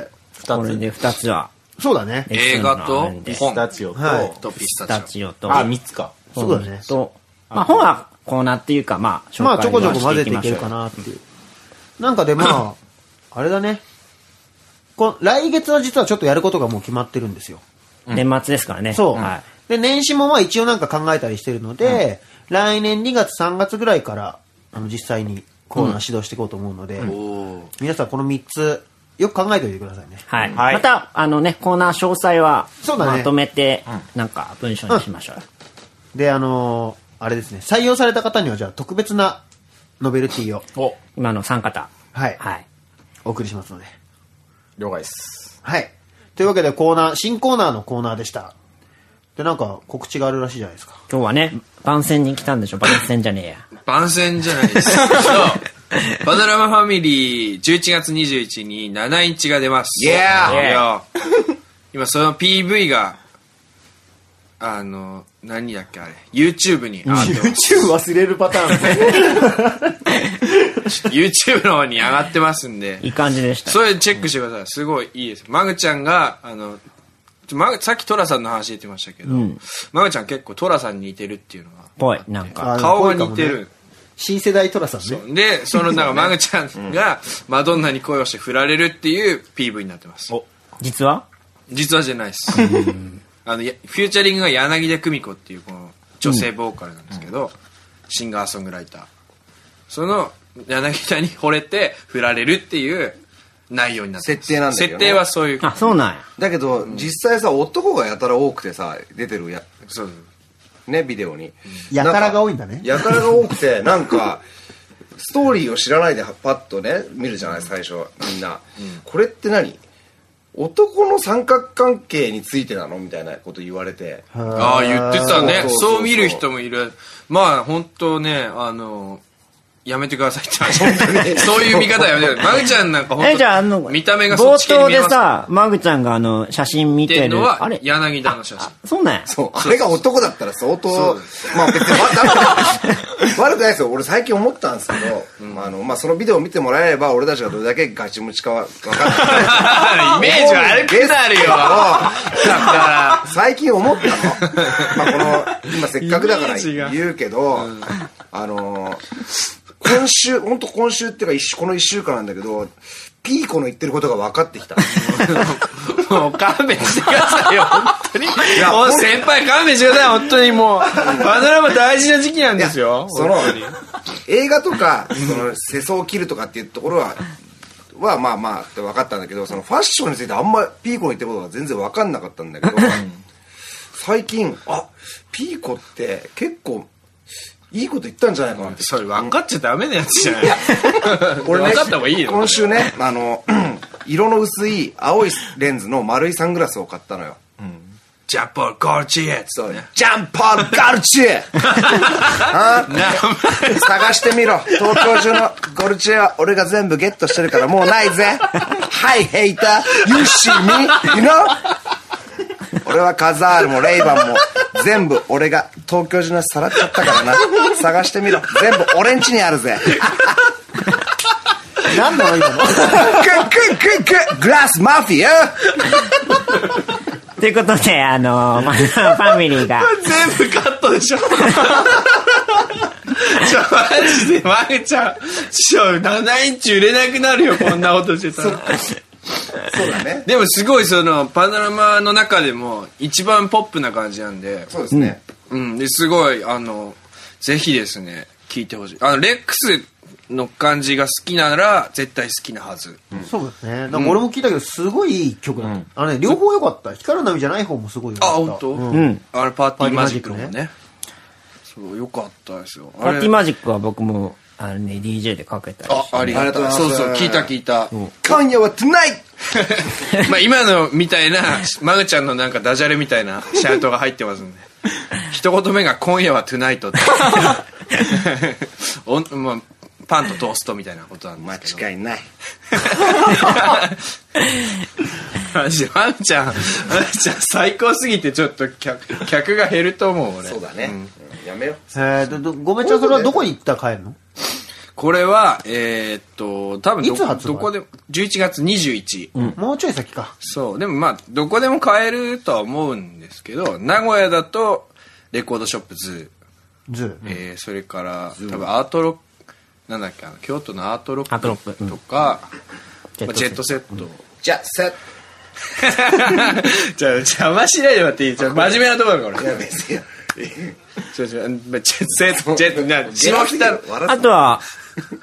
Speaker 3: これで二つは、
Speaker 1: そうだね。
Speaker 5: 映画と
Speaker 3: エクス
Speaker 2: ピ
Speaker 5: 本
Speaker 2: スタチオと、
Speaker 1: はい
Speaker 5: とピス
Speaker 3: タ
Speaker 5: タチ
Speaker 3: チオと、
Speaker 2: あ、3つか。
Speaker 1: そうだね。
Speaker 3: と、まあ本はコーナーっていうか、まあ、
Speaker 1: まあちょこちょこ混ぜていけ
Speaker 3: 紹介はしき
Speaker 1: る
Speaker 3: ましょ
Speaker 1: か
Speaker 3: う
Speaker 1: なっていう。なんかでまあ、あれだね。こ来月は実はちょっとやることがもう決まってるんですよ。
Speaker 3: 年末ですからね。
Speaker 1: そう。
Speaker 3: はい。
Speaker 1: で、年始もまあ一応なんか考えたりしてるので、来年2月3月ぐらいから、あの、実際にコーナー指導していこうと思うので、
Speaker 5: オ。おー
Speaker 1: 皆さんこの3つ、よく考えておいてくださいね。
Speaker 3: はい。
Speaker 2: はい
Speaker 3: また、あのね、コーナー詳細は、
Speaker 1: そうだね
Speaker 3: まとめて、なんか文章にしましょう。
Speaker 1: で、あのーあれですね、採用された方にはじゃあ特別なノベルティを
Speaker 2: お、
Speaker 3: 今の3方。
Speaker 1: はい
Speaker 3: はい。
Speaker 1: お送りしますので。
Speaker 2: 了解です。
Speaker 1: はい。というわけでコーナー、新コーナーのコーナーでした。で、なんか告知があるらしいじゃないです か。
Speaker 3: 今日はね、番宣に来たんでしょ番宣じゃねえや。
Speaker 5: 番宣じゃないですそうパドラマファミリー11月21日に7インチが出ます。
Speaker 8: Yeah
Speaker 5: いや今その PV が、あの、何だっけあれ、YouTube に上がって ます。
Speaker 1: 忘れるパターン。
Speaker 5: YouTube の方に上がってますんで
Speaker 3: い、い感じでした。
Speaker 5: それチェックしてください。すごいいいです。マグちゃんが、あの、ちょマグさっきトラさんの話出てましたけど、マグちゃん結構トラさんに似てるっていうのが、
Speaker 3: ぽい、なんか。
Speaker 1: あ
Speaker 5: 顔が似てる。
Speaker 1: 新世代トラさんね。
Speaker 5: で、そのなんか、マグちゃんがマドンナに恋をして振られるっていう PV になってます。
Speaker 3: 実は
Speaker 5: 実はじゃないです。あの、やフューチャリングが柳田久美子っていうこの女性ボーカルなんですけど、シンガーソングライター。その柳田に惚れて振られるっていう内容になってます。
Speaker 8: 設定なんだよね
Speaker 5: 設定はそういう。
Speaker 3: あ、そうなんや。
Speaker 8: だけど、実際さ、男がやたら多くてさ、出てるや、
Speaker 5: そう
Speaker 8: ね、ビデオに。
Speaker 1: やたらが多いんだね
Speaker 8: やたらが多くて、なんか、ストーリーを知らないでパッとね、見るじゃない、最初、みんな。これって何男の三角関係についてなのみたいなこと言われて。
Speaker 5: ああ、言ってたね。
Speaker 8: そうそうそう
Speaker 5: そう見る人もいる。まあ、本当ね、あの、やめてくださいって 話。そういう見方やめてください。マグちゃんなんか本当
Speaker 3: え、じゃあ、あの、
Speaker 5: 見た目がそ
Speaker 3: 冒
Speaker 5: っち系に
Speaker 3: 頭
Speaker 5: 見え
Speaker 3: で
Speaker 5: ます。
Speaker 3: さ、マグちゃんがあの、写真見
Speaker 5: 見て
Speaker 3: て
Speaker 5: るの
Speaker 3: る。
Speaker 5: は
Speaker 3: あれ
Speaker 5: 柳田の写真。
Speaker 3: そうなんや。
Speaker 8: そう、あれが男だったら相当、まあ別に悪くない悪くないですよ。俺最近思ったんですけど、あの、まあそのビデオを見てもらえれば、俺たちがどれだけガチムチかは分かんない。
Speaker 5: イメージ悪くなるよ。だか
Speaker 8: 最近思ったの。まあこの、今せっかくだから
Speaker 5: イメージが
Speaker 8: 言うけど、あの、今週、本当今週っていうか一週、この一週間なんだけど、ピーコの言ってることが分かってきた。
Speaker 5: ら、もう勘弁してくださいよ、本当に。も
Speaker 8: や
Speaker 5: う先輩勘弁してください、本当に もう。バドラマ大事な時期なんですよ。
Speaker 8: その映画とかその世相を切るとかっていうところははまあまあって分かったんだけどそのファッションについてあんまピーコの言ってることが全然分かんなかったんだけど最近あピーコって結構いいこと言ったんじゃないかなって
Speaker 5: それ分かっちゃダメなやつじゃない。
Speaker 8: 俺ね
Speaker 5: 分かった方がいいよ。
Speaker 8: 今週ねあの 色の薄い青いレンズの丸いサングラスを買ったのよ
Speaker 5: ジャポーゴルチエ
Speaker 8: そうジャンポール・ガルチエ あー探してみろ東京中のゴルチェは俺が全部ゲットしてるからもうないぜ Hi hater you see me you know 俺はカザールもレイバンも全部俺が東京中のさらっちゃったからな探してみろ全部俺ん家にあるぜ
Speaker 1: なんだろう今の。
Speaker 8: クックックックグラスマフィア
Speaker 3: ということで、あのー、まあファミリー が、
Speaker 5: 全部カットでしょ。ちょ、マジで、マグちゃん、ちょ、7インチ売れなくなるよ、こんなことしてたら。
Speaker 8: そうだね
Speaker 5: でもすごいその、パノラマの中でも一番ポップな感じなんで、
Speaker 8: そうですね、
Speaker 5: うん、ですごい、あの、ぜひですね、聞いてほしい。あの、レックスの感じが好きなら、絶対好きなはず。
Speaker 1: そうだね。なんか俺も聞いたけど、すごいいい曲だった。あのね、両方良かった。光る波じゃない方もすごい良
Speaker 5: あ、
Speaker 1: かった。
Speaker 5: 本当？
Speaker 1: うん
Speaker 5: うん。あれ、パーティーマジックの
Speaker 1: パ
Speaker 5: 方
Speaker 1: ーテ
Speaker 5: ね。そう、よかったですよ。
Speaker 3: パ
Speaker 5: あ
Speaker 3: ーティ
Speaker 5: れ
Speaker 3: ー、マジックは僕も、あのね、DJ でかけたり
Speaker 5: あ、ありがとう。そうそう、聞いた聞いた。
Speaker 8: 今夜は tonight
Speaker 5: まあ今のみたいな、マグちゃんのなんかダジャレみたいなシャウトが入ってますんで。一言目が今夜はトゥナイトって。 おまあ、パンとトーストみたいなことなんですけど。
Speaker 8: 間違いない
Speaker 5: マジで、ワンちゃん、ワンちゃん最高すぎてちょっと客、客が減ると思う、俺。
Speaker 8: そうだね。うんやめよう。
Speaker 1: えーとどごめんちゃん、それはどこに行ったら帰るの
Speaker 5: これは、えーっと、多分ど、
Speaker 1: いつ発売
Speaker 5: どこでも、11月21。
Speaker 1: もうちょい先か。
Speaker 5: そう。でもまあ、どこでも買えるとは思うんですけど、名古屋だと、レコードショップズー。
Speaker 1: ズー。
Speaker 5: えーそれから、多分アートロック、なんだっけ、あの京都のアートロ
Speaker 3: アートロッ
Speaker 5: ッ
Speaker 3: クう
Speaker 5: ク
Speaker 3: ん
Speaker 5: とか、
Speaker 3: ジェットセット
Speaker 5: まあジェットセット。
Speaker 8: じゃあ、さ、
Speaker 5: じゃあ、邪魔しないで待っていいじゃあ真面目なところだ から、俺。
Speaker 8: 別に。
Speaker 5: ちょちょ、まあジェットセット、ジェット、な下北の、
Speaker 8: 笑
Speaker 3: あとは、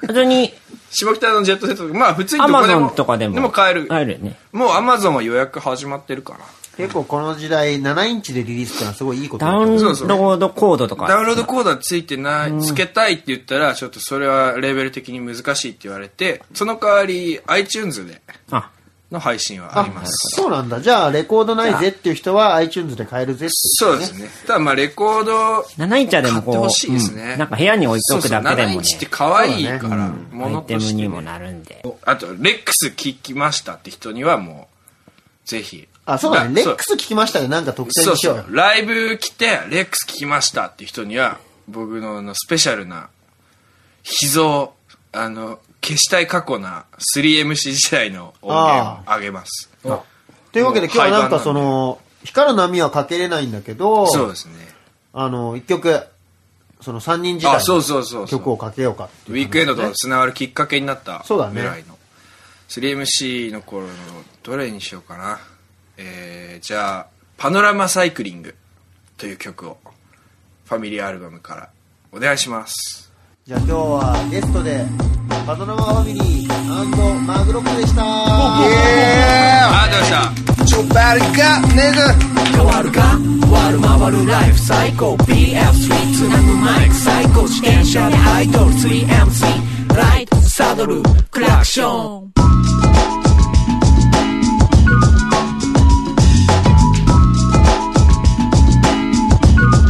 Speaker 3: 普通に
Speaker 5: 下北のジェットセットとか、まあ普通に
Speaker 3: ア
Speaker 5: どこ
Speaker 3: マ
Speaker 5: で
Speaker 3: ゾ
Speaker 5: も。
Speaker 3: ンとかでも。
Speaker 5: でも買える。
Speaker 3: 買えるよね。
Speaker 5: もうアマゾンは予約始まってるか
Speaker 1: 結構この時代、7インチでリリースってのはすごいいいことだ
Speaker 3: ダ
Speaker 1: と思う
Speaker 3: ウンロ
Speaker 5: そうそう
Speaker 3: ードコードと
Speaker 5: ら。ダウン
Speaker 3: か。
Speaker 5: ロードコードはついてない、つけたいって言ったら、ちょっとそれはレベル的に難しいって言われて、その代わり iTunes で
Speaker 3: あ、
Speaker 5: の配信はあり
Speaker 1: あ
Speaker 5: ま、す。
Speaker 1: そうなんだ。じゃあ、レコードないぜっていう人は iTunes で買えるぜって
Speaker 5: そうですね。ただまあレコード、
Speaker 3: 7インチはでもこ
Speaker 5: 買って
Speaker 3: う、
Speaker 5: ほしいですね
Speaker 3: うんなんか部屋に置いとくだけで
Speaker 5: そうそう7イ
Speaker 3: も
Speaker 5: ン
Speaker 3: ね、
Speaker 5: チって可愛いから、も
Speaker 3: ア
Speaker 5: の
Speaker 3: イテ
Speaker 5: と
Speaker 3: ム
Speaker 5: して
Speaker 3: に
Speaker 5: ね、
Speaker 3: もなるんで。
Speaker 5: あと、レックス聞きましたって人にはもう、ぜひ。
Speaker 1: あ、そうだね。レ
Speaker 5: ま
Speaker 1: ッ
Speaker 5: あ
Speaker 1: クス聞きましたね。なんか特典
Speaker 5: そう
Speaker 1: にし
Speaker 5: そ
Speaker 1: よ
Speaker 5: う
Speaker 1: うよ
Speaker 5: そう。ライブ来て、レックス聞きましたって人には、僕のあのスペシャルな、秘蔵、あの、消したい過去な 3MC 時代の音源をあげます。
Speaker 1: というわけで今日はなんかその、光る波はかけれないんだけど、
Speaker 5: そうですね。
Speaker 1: あの、一曲、その三人時代
Speaker 5: あ、そう
Speaker 1: の
Speaker 5: そうそうそう。
Speaker 1: 曲をかけようかって
Speaker 5: ウ
Speaker 1: いう
Speaker 5: ィークエンドとつながるきっかけになった
Speaker 1: そうだね
Speaker 5: ぐらいの、3MC の頃のどれにしようかなえー、じゃあ「パノラマサイクリング」という曲をファミリーアルバムからお願いします
Speaker 1: じゃあ今日はゲストで、バナナマファミリーマグロックでした。
Speaker 5: ありがとうございました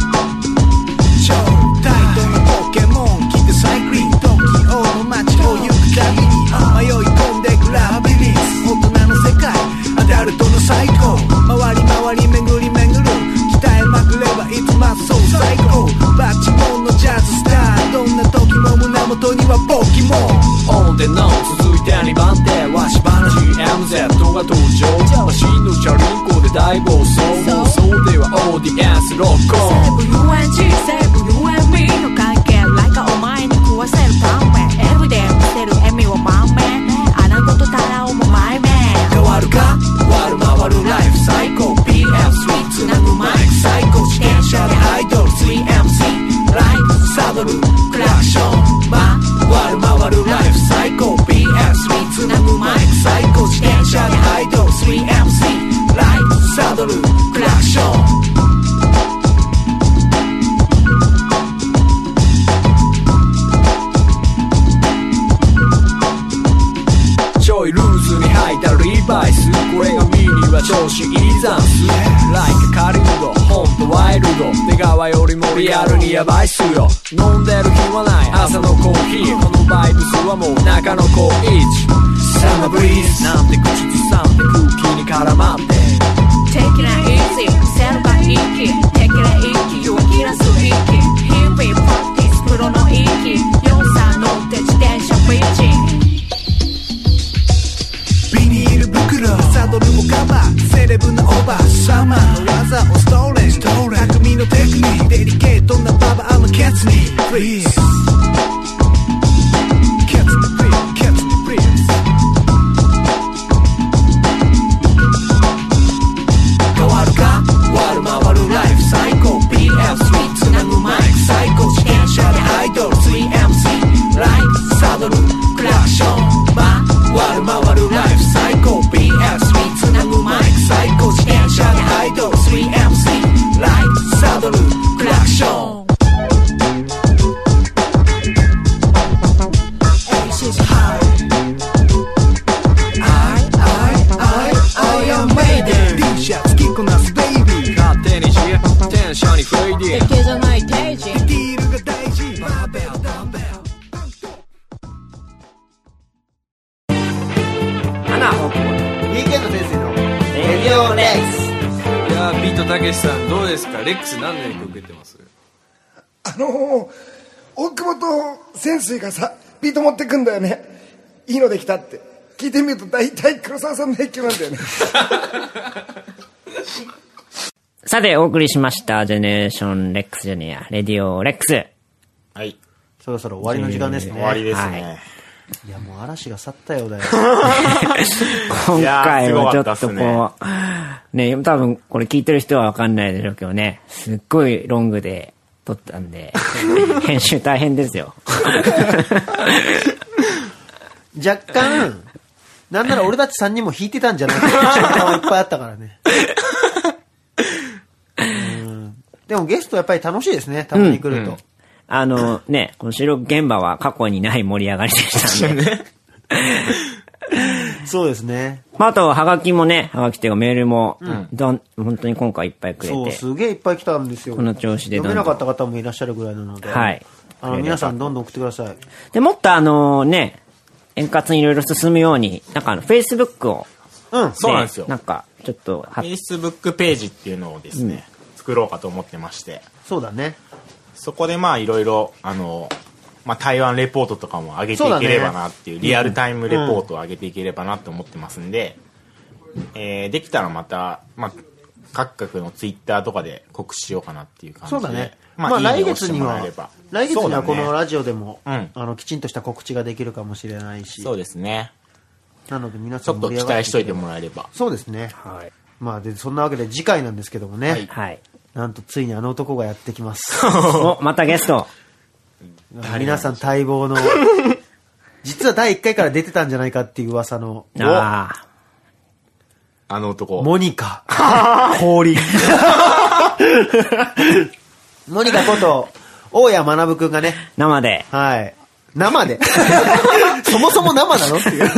Speaker 9: 超タイトのポケモン来てサイクリング東京の街を行くたびに迷い込んでくラビリンス大人の世界アダルトの最高回り回り巡り巡る鍛えまくればいつもそう最高バッチモンのジャズスターどんな時も胸元にはポケモン
Speaker 10: オンでノー続いて2番手わしばな GMZ が登場マシンのチャリンコで大暴走妄想では ODS ロックオン
Speaker 11: UNG セブ UNB の関係来かお前に食わせるパンメンエブで見せる笑みを満面穴ごとたらおも前面
Speaker 9: 変わるか回る回るライフ最高 PF3 つなぐマイク最高自転車でアイドル 3MC ライトサドルクラクション回る回るライフ最高 PF3 つなぐマイク最高自転車でアイドル 3MC ライトサドルクラクション
Speaker 10: ちょいルーズに履いたリバイスこれがミニは調子いいざんす Like カリウドホントワイルド出川よりもリアルにヤバいっすよ飲んでる日はない朝のコーヒーこのバイブスはもう中の高一サマーブリーズなんて口ずさんで空気に絡まって
Speaker 11: Take it easy 見せるばいい気 Take it easy 勇気らす息 Here we practice プロの息43乗って自転車ビーチ
Speaker 9: ビニール袋サドルもカバーセレブなオーバーサマーの技をストーレンストーレン匠のテクニックデリケートなババアのケツにプリーズケツにプリーズケツにプリーズ変わるか回る回るライフ最高 PF3 つなぐマイク最高自転車でアイドル 3MC ライトサドルクラクション回る回るライフ最高 PF3 つなぐマイク最高自転車でアイドル 3MC ライトサドルクラクション She's high. I, I, I, I am Maiden. T シャツ着こなすベイビー。
Speaker 10: 勝手にしテンションにフレイディ
Speaker 11: 池じゃない定時
Speaker 9: ディールが大事。バーベル、ダンベル。
Speaker 3: 7、
Speaker 1: ウィーケンド先生の
Speaker 3: え
Speaker 5: さあビートたけしさんどうですかレックス何の影響受けてます
Speaker 12: あのー、大久保と潜水がさビート持ってくんだよねいいのできたって聞いてみると大体黒沢さんの影響なんだよね
Speaker 3: さて、お送りしました、ジェネレーションレックスジュニア、レディオレックス。
Speaker 2: はい。
Speaker 1: そろそろ終わりの時間ですね。
Speaker 3: 終わりですね
Speaker 1: はい。いや、もう嵐が去ったようだよ。
Speaker 3: 今回はちょ
Speaker 1: いやーすごかったっ
Speaker 3: っ
Speaker 1: す
Speaker 3: とこう、
Speaker 1: ね
Speaker 3: ね多分これ聞いてる人はわかんないでしょうけどね、すっごいロングで撮ったんで、 編集大変ですよ。
Speaker 1: 若干、なんなら俺たち3人も弾いてたんじゃないかって瞬間はいっぱいあったからね。うんでもゲストやっぱり楽しいですね、たまに来ると。
Speaker 3: あのね、この収録現場は過去にない盛り上がりでした んで。
Speaker 1: そうですね。
Speaker 3: まあ、あと、はがきもね、はがきっていうかメールも、
Speaker 1: うん
Speaker 3: どん、本当に今回いっぱいくれ
Speaker 1: そう、
Speaker 3: て。
Speaker 1: すげえいっぱい来たんですよ。
Speaker 3: この調子でどん
Speaker 1: 読め
Speaker 3: どん
Speaker 1: なかった方もいらっしゃるぐらいなので。
Speaker 3: はい。
Speaker 1: あの、皆さんどんどん送ってください。
Speaker 3: で、もっとあのね、円滑にいろいろ進むように、なんかあの、Facebook を。
Speaker 1: うん
Speaker 2: そうなんですよ
Speaker 3: なんか、ちょっと、は
Speaker 2: Facebook ページっていうのをですね、作ろうかと思ってまして。
Speaker 1: そうだね。
Speaker 2: そこでまあいろいろ、あの、まあ台湾レポートとかも上げていければなってい
Speaker 1: そう
Speaker 2: う、
Speaker 1: だね
Speaker 2: リアルタイムレポートを上げていければなと思ってますんで、えーできたらまた、まあ、各国のツイッターとかで告知しようかなっていう感じ
Speaker 1: そ
Speaker 2: で。
Speaker 1: うだね。まあ、来月には、来月にはこのラジオでも、
Speaker 2: うん
Speaker 1: あの、きちんとした告知ができるかもしれないし。
Speaker 2: そうですね。
Speaker 1: なので皆
Speaker 2: ち
Speaker 1: さ
Speaker 2: ょ
Speaker 1: ん
Speaker 2: っ
Speaker 1: 盛
Speaker 2: と
Speaker 1: り
Speaker 2: 期
Speaker 1: 上が
Speaker 2: 待しといてもらえれば。
Speaker 1: そうですね。
Speaker 3: はい。
Speaker 1: まあ、で、そんなわけで次回なんですけどもね。
Speaker 3: はい。
Speaker 1: なんとついにあの男がやってき ます。
Speaker 3: お、またゲスト。
Speaker 1: 皆さん待望 の、実は第1回から出てたんじゃないかっていう噂の、
Speaker 3: あ
Speaker 2: あの男。
Speaker 1: モニカ。氷。モニカこと、大谷学くんがね。
Speaker 3: 生で。
Speaker 1: はい。生 で。そもそも生なのっていう。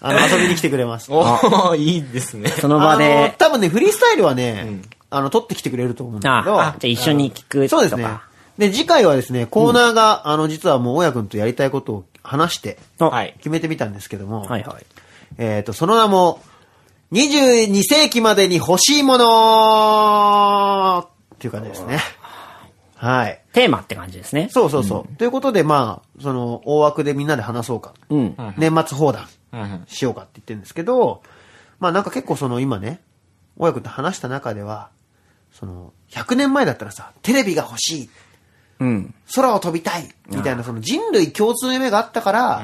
Speaker 1: あの、遊びに来てくれます。
Speaker 2: おー、いいですね。
Speaker 3: その場で
Speaker 1: あの多分ね、フリースタイルはね、あの、撮ってきてくれると思うんだけど。
Speaker 3: ああじゃあ一緒に聞くと
Speaker 1: そ
Speaker 3: か
Speaker 1: うですね。で、次回はですね、コーナーが、あの、実はもう、親くんとやりたいことを話して、決めてみたんですけども、
Speaker 3: はいはい。
Speaker 1: えっ、と、その名も、22世紀までに欲しいものっていう感じですね。はい。
Speaker 3: テーマって感じですね。
Speaker 1: そうそうそう。ということで、まあ、その、大枠でみんなで話そうか。
Speaker 3: うん。
Speaker 1: 年末放談
Speaker 2: うん
Speaker 1: しようかって言ってるんですけど、まあなんか結構その今ね、親子と話した中では、その、100年前だったらさ、テレビが欲しい、
Speaker 3: うん。
Speaker 1: 空を飛びたい、みたいなその人類共通の夢があったから、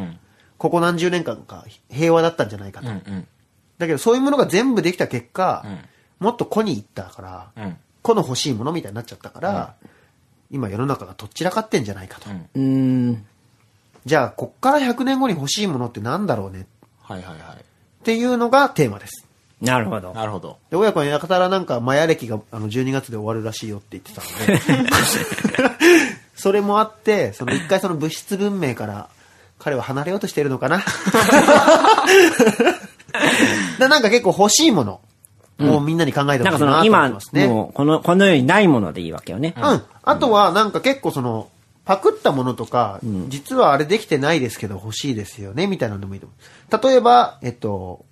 Speaker 1: ここ何十年間か平和だったんじゃないかと。だけどそういうものが全部できた結果、もっと子に行ったから、
Speaker 2: うん。
Speaker 1: 子の欲しいものみたいになっちゃったから、今世の中がとっちらかってんじゃないかと。
Speaker 3: うん。
Speaker 1: じゃあ、こっから100年後に欲しいものってなんだろうね
Speaker 2: はいはいはい。
Speaker 1: っていうのがテーマです。
Speaker 3: なるほど。
Speaker 2: なるほど。
Speaker 1: で、親子の館らなんかマヤ歴があの12月で終わるらしいよって言ってたので、それもあって、その一回その物質文明から彼は離れようとしているのか な。でなんか結構欲しいものをみんなに考えて
Speaker 3: な
Speaker 1: ほしい
Speaker 3: んかそ
Speaker 1: な
Speaker 3: の
Speaker 1: と思
Speaker 3: 今、
Speaker 1: いますね。
Speaker 3: もうこの、この世にないものでいいわけよね。
Speaker 1: うん。あとは、なんか結構その、パクったものとか、実はあれできてないですけど欲しいですよね、みたいなのでもいいと思う。例えば、えっと、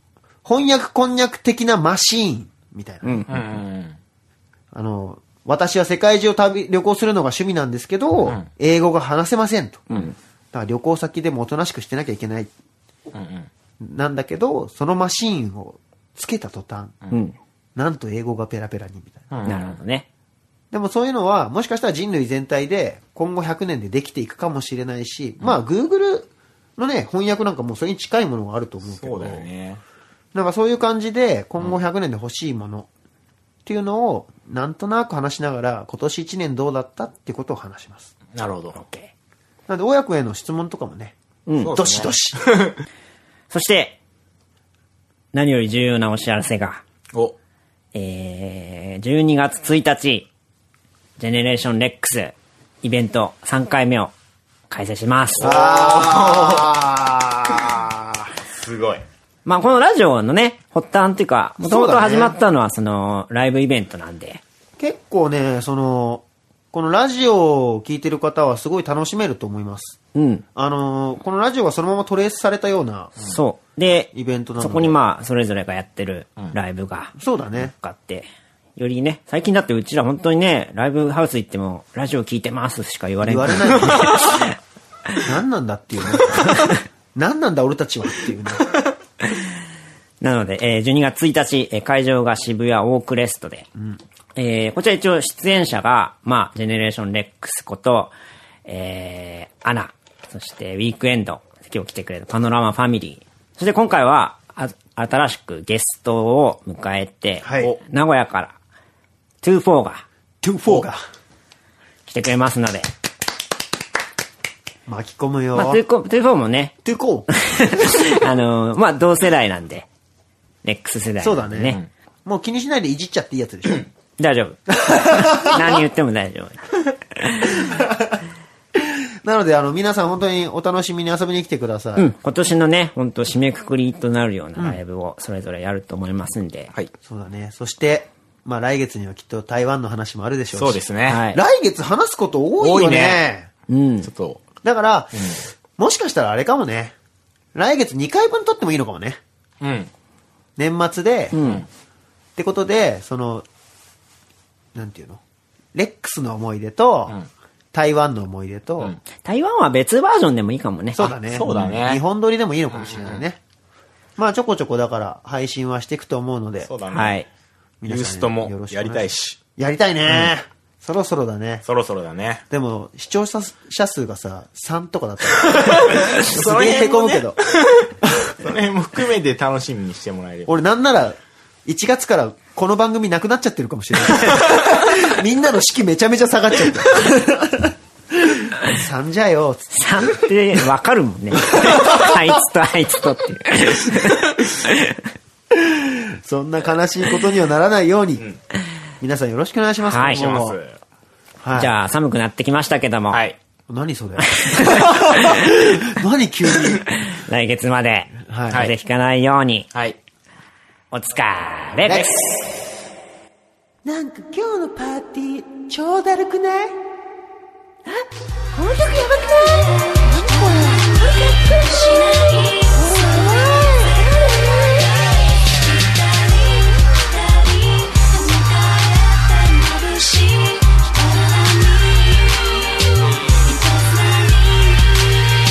Speaker 1: 翻訳こんにゃく的なマシーン、みたいな。
Speaker 2: うんうん
Speaker 1: あの、私は世界中を旅、旅行するのが趣味なんですけど、英語が話せませんと。
Speaker 2: うん。うん
Speaker 1: だから旅行先でもおとなしくしてなきゃいけない。
Speaker 2: うん。
Speaker 1: なんだけど、そのマシーンをつけた途端、
Speaker 3: うん。
Speaker 1: なんと英語がペラペラに、みたいな。
Speaker 3: なるほどね。
Speaker 1: でもそういうのは、もしかしたら人類全体で、今後100年でできていくかもしれないし、まあ、Google のね、翻訳なんかもうそれに近いものがあると思うけ
Speaker 2: そ
Speaker 1: ど、
Speaker 2: うだよね。
Speaker 1: なんかそういう感じで、今後100年で欲しいものっていうのを、なんとなく話しながら、今年1年どうだったってことを話します。
Speaker 2: なるほど。
Speaker 1: なので、親子への質問とかもね、
Speaker 3: うん
Speaker 1: どしど し。
Speaker 3: そして、何より重要なお知らせが、
Speaker 2: お、
Speaker 3: えー、12月1日、ジェネレーションレックスイベント3回目を開催します。
Speaker 2: すごい。
Speaker 3: まあこのラジオのね、発端っていうか、もと
Speaker 1: そ
Speaker 3: も
Speaker 1: う
Speaker 3: と
Speaker 1: だね
Speaker 3: 始まったのはそのライブイベントなんで、
Speaker 1: 結構ね、その、このラジオを聞いてる方はすごい楽しめると思います。
Speaker 3: うん。
Speaker 1: あのーこのラジオがそのままトレースされたような、
Speaker 3: そう。で、
Speaker 1: イベントなの
Speaker 3: そ
Speaker 1: で
Speaker 3: こにまあ、それぞれがやってるライブが、
Speaker 1: そうだね。
Speaker 3: かって、よりね、最近だってうちら本当にね、ライブハウス行っても、ラジオ聞いてますしか言われ
Speaker 1: 言われない
Speaker 3: い。
Speaker 1: よね。何なんだっていうね。何なんだ俺たちはっていうね。
Speaker 3: なので、えー12月1日、えー会場が渋谷オークレストで、えーこちら一応出演者が、まあ、ジェネレーションレックスこと、えー、アナ、そしてウィークエンド、今日来てくれたパノラマファミリー、そして今回は、あ新しくゲストを迎えて、名古屋から、24が、
Speaker 1: 24が、
Speaker 3: 来てくれますので、
Speaker 1: 巻き込むよ。
Speaker 3: まあ、24もね、
Speaker 1: 24
Speaker 3: あのーまあ、同世代なんで、レックス世代
Speaker 1: そう
Speaker 3: な
Speaker 1: だ
Speaker 3: んで
Speaker 1: ね。もう気にしないでいじっちゃっていいやつでしょ。
Speaker 3: 大丈夫。何言っても大丈夫。
Speaker 1: なので、あの、皆さん本当にお楽しみに遊びに来てください。
Speaker 3: うん、今年のね、本当締めくくりとなるようなライブをそれぞれやると思いますんで。はい。
Speaker 1: そうだね。そして、まあ来月にはきっと台湾の話もあるでしょうし。
Speaker 2: そうですねはい
Speaker 1: 来月話すこと多いよね。
Speaker 3: うん。
Speaker 2: ちょっと、
Speaker 1: だから、もしかしたらあれかもね。来月2回分撮ってもいいのかもね。
Speaker 2: うん。
Speaker 1: 年末で、ってことで、その、なんていうのレックスの思い出と、台湾の思い出と、
Speaker 3: 台湾は別バージョンでもいいかもね。
Speaker 1: そうだね。ん日本撮りでもいいのかもしれないね。まあちょこちょこだから配信はしていくと思うので。そう
Speaker 2: だね
Speaker 3: はい。
Speaker 2: ユーストもやりたいし。
Speaker 1: やりたいね、そろそろだね。
Speaker 2: そろそろだね。
Speaker 1: でも、視聴者数がさ、3とかだった ら。すげえ凹むけど。
Speaker 2: その辺も含めて楽しみにしてもらえれば。
Speaker 1: 俺なんなら、1月からこの番組なくなっちゃってるかもしれ ない。みんなの士気めちゃめちゃ下がっちゃった。3じゃ よ、つって
Speaker 3: 3ってわかる もんね。あいつとあいつとっていう。
Speaker 1: そんな悲しいことにはならないように、皆さんよろしくお願いします。
Speaker 3: はい
Speaker 1: 今後も
Speaker 3: お願いし
Speaker 1: はい
Speaker 3: じゃあ寒くなってきましたけども。
Speaker 1: 何 それ何急に。
Speaker 3: 来月まで、
Speaker 1: はい
Speaker 3: 風邪ひかないように。
Speaker 2: はい。
Speaker 3: お疲れです。
Speaker 4: なんか今日のパーティー超だるくないあこの曲やばくない何これなんかしない
Speaker 10: 光る波か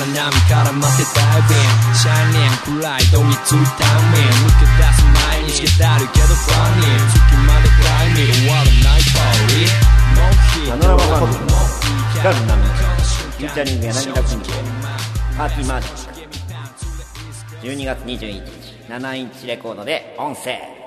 Speaker 10: ら波から待ってたい便シャイニング暗いどぎついタイミング抜け出す毎日がだるけどファニー月まで買いに終わらないパーリーノーヒーロー
Speaker 3: 光る波フューチャリング柳田君パーティーマージック12月21日7インチレコードで音声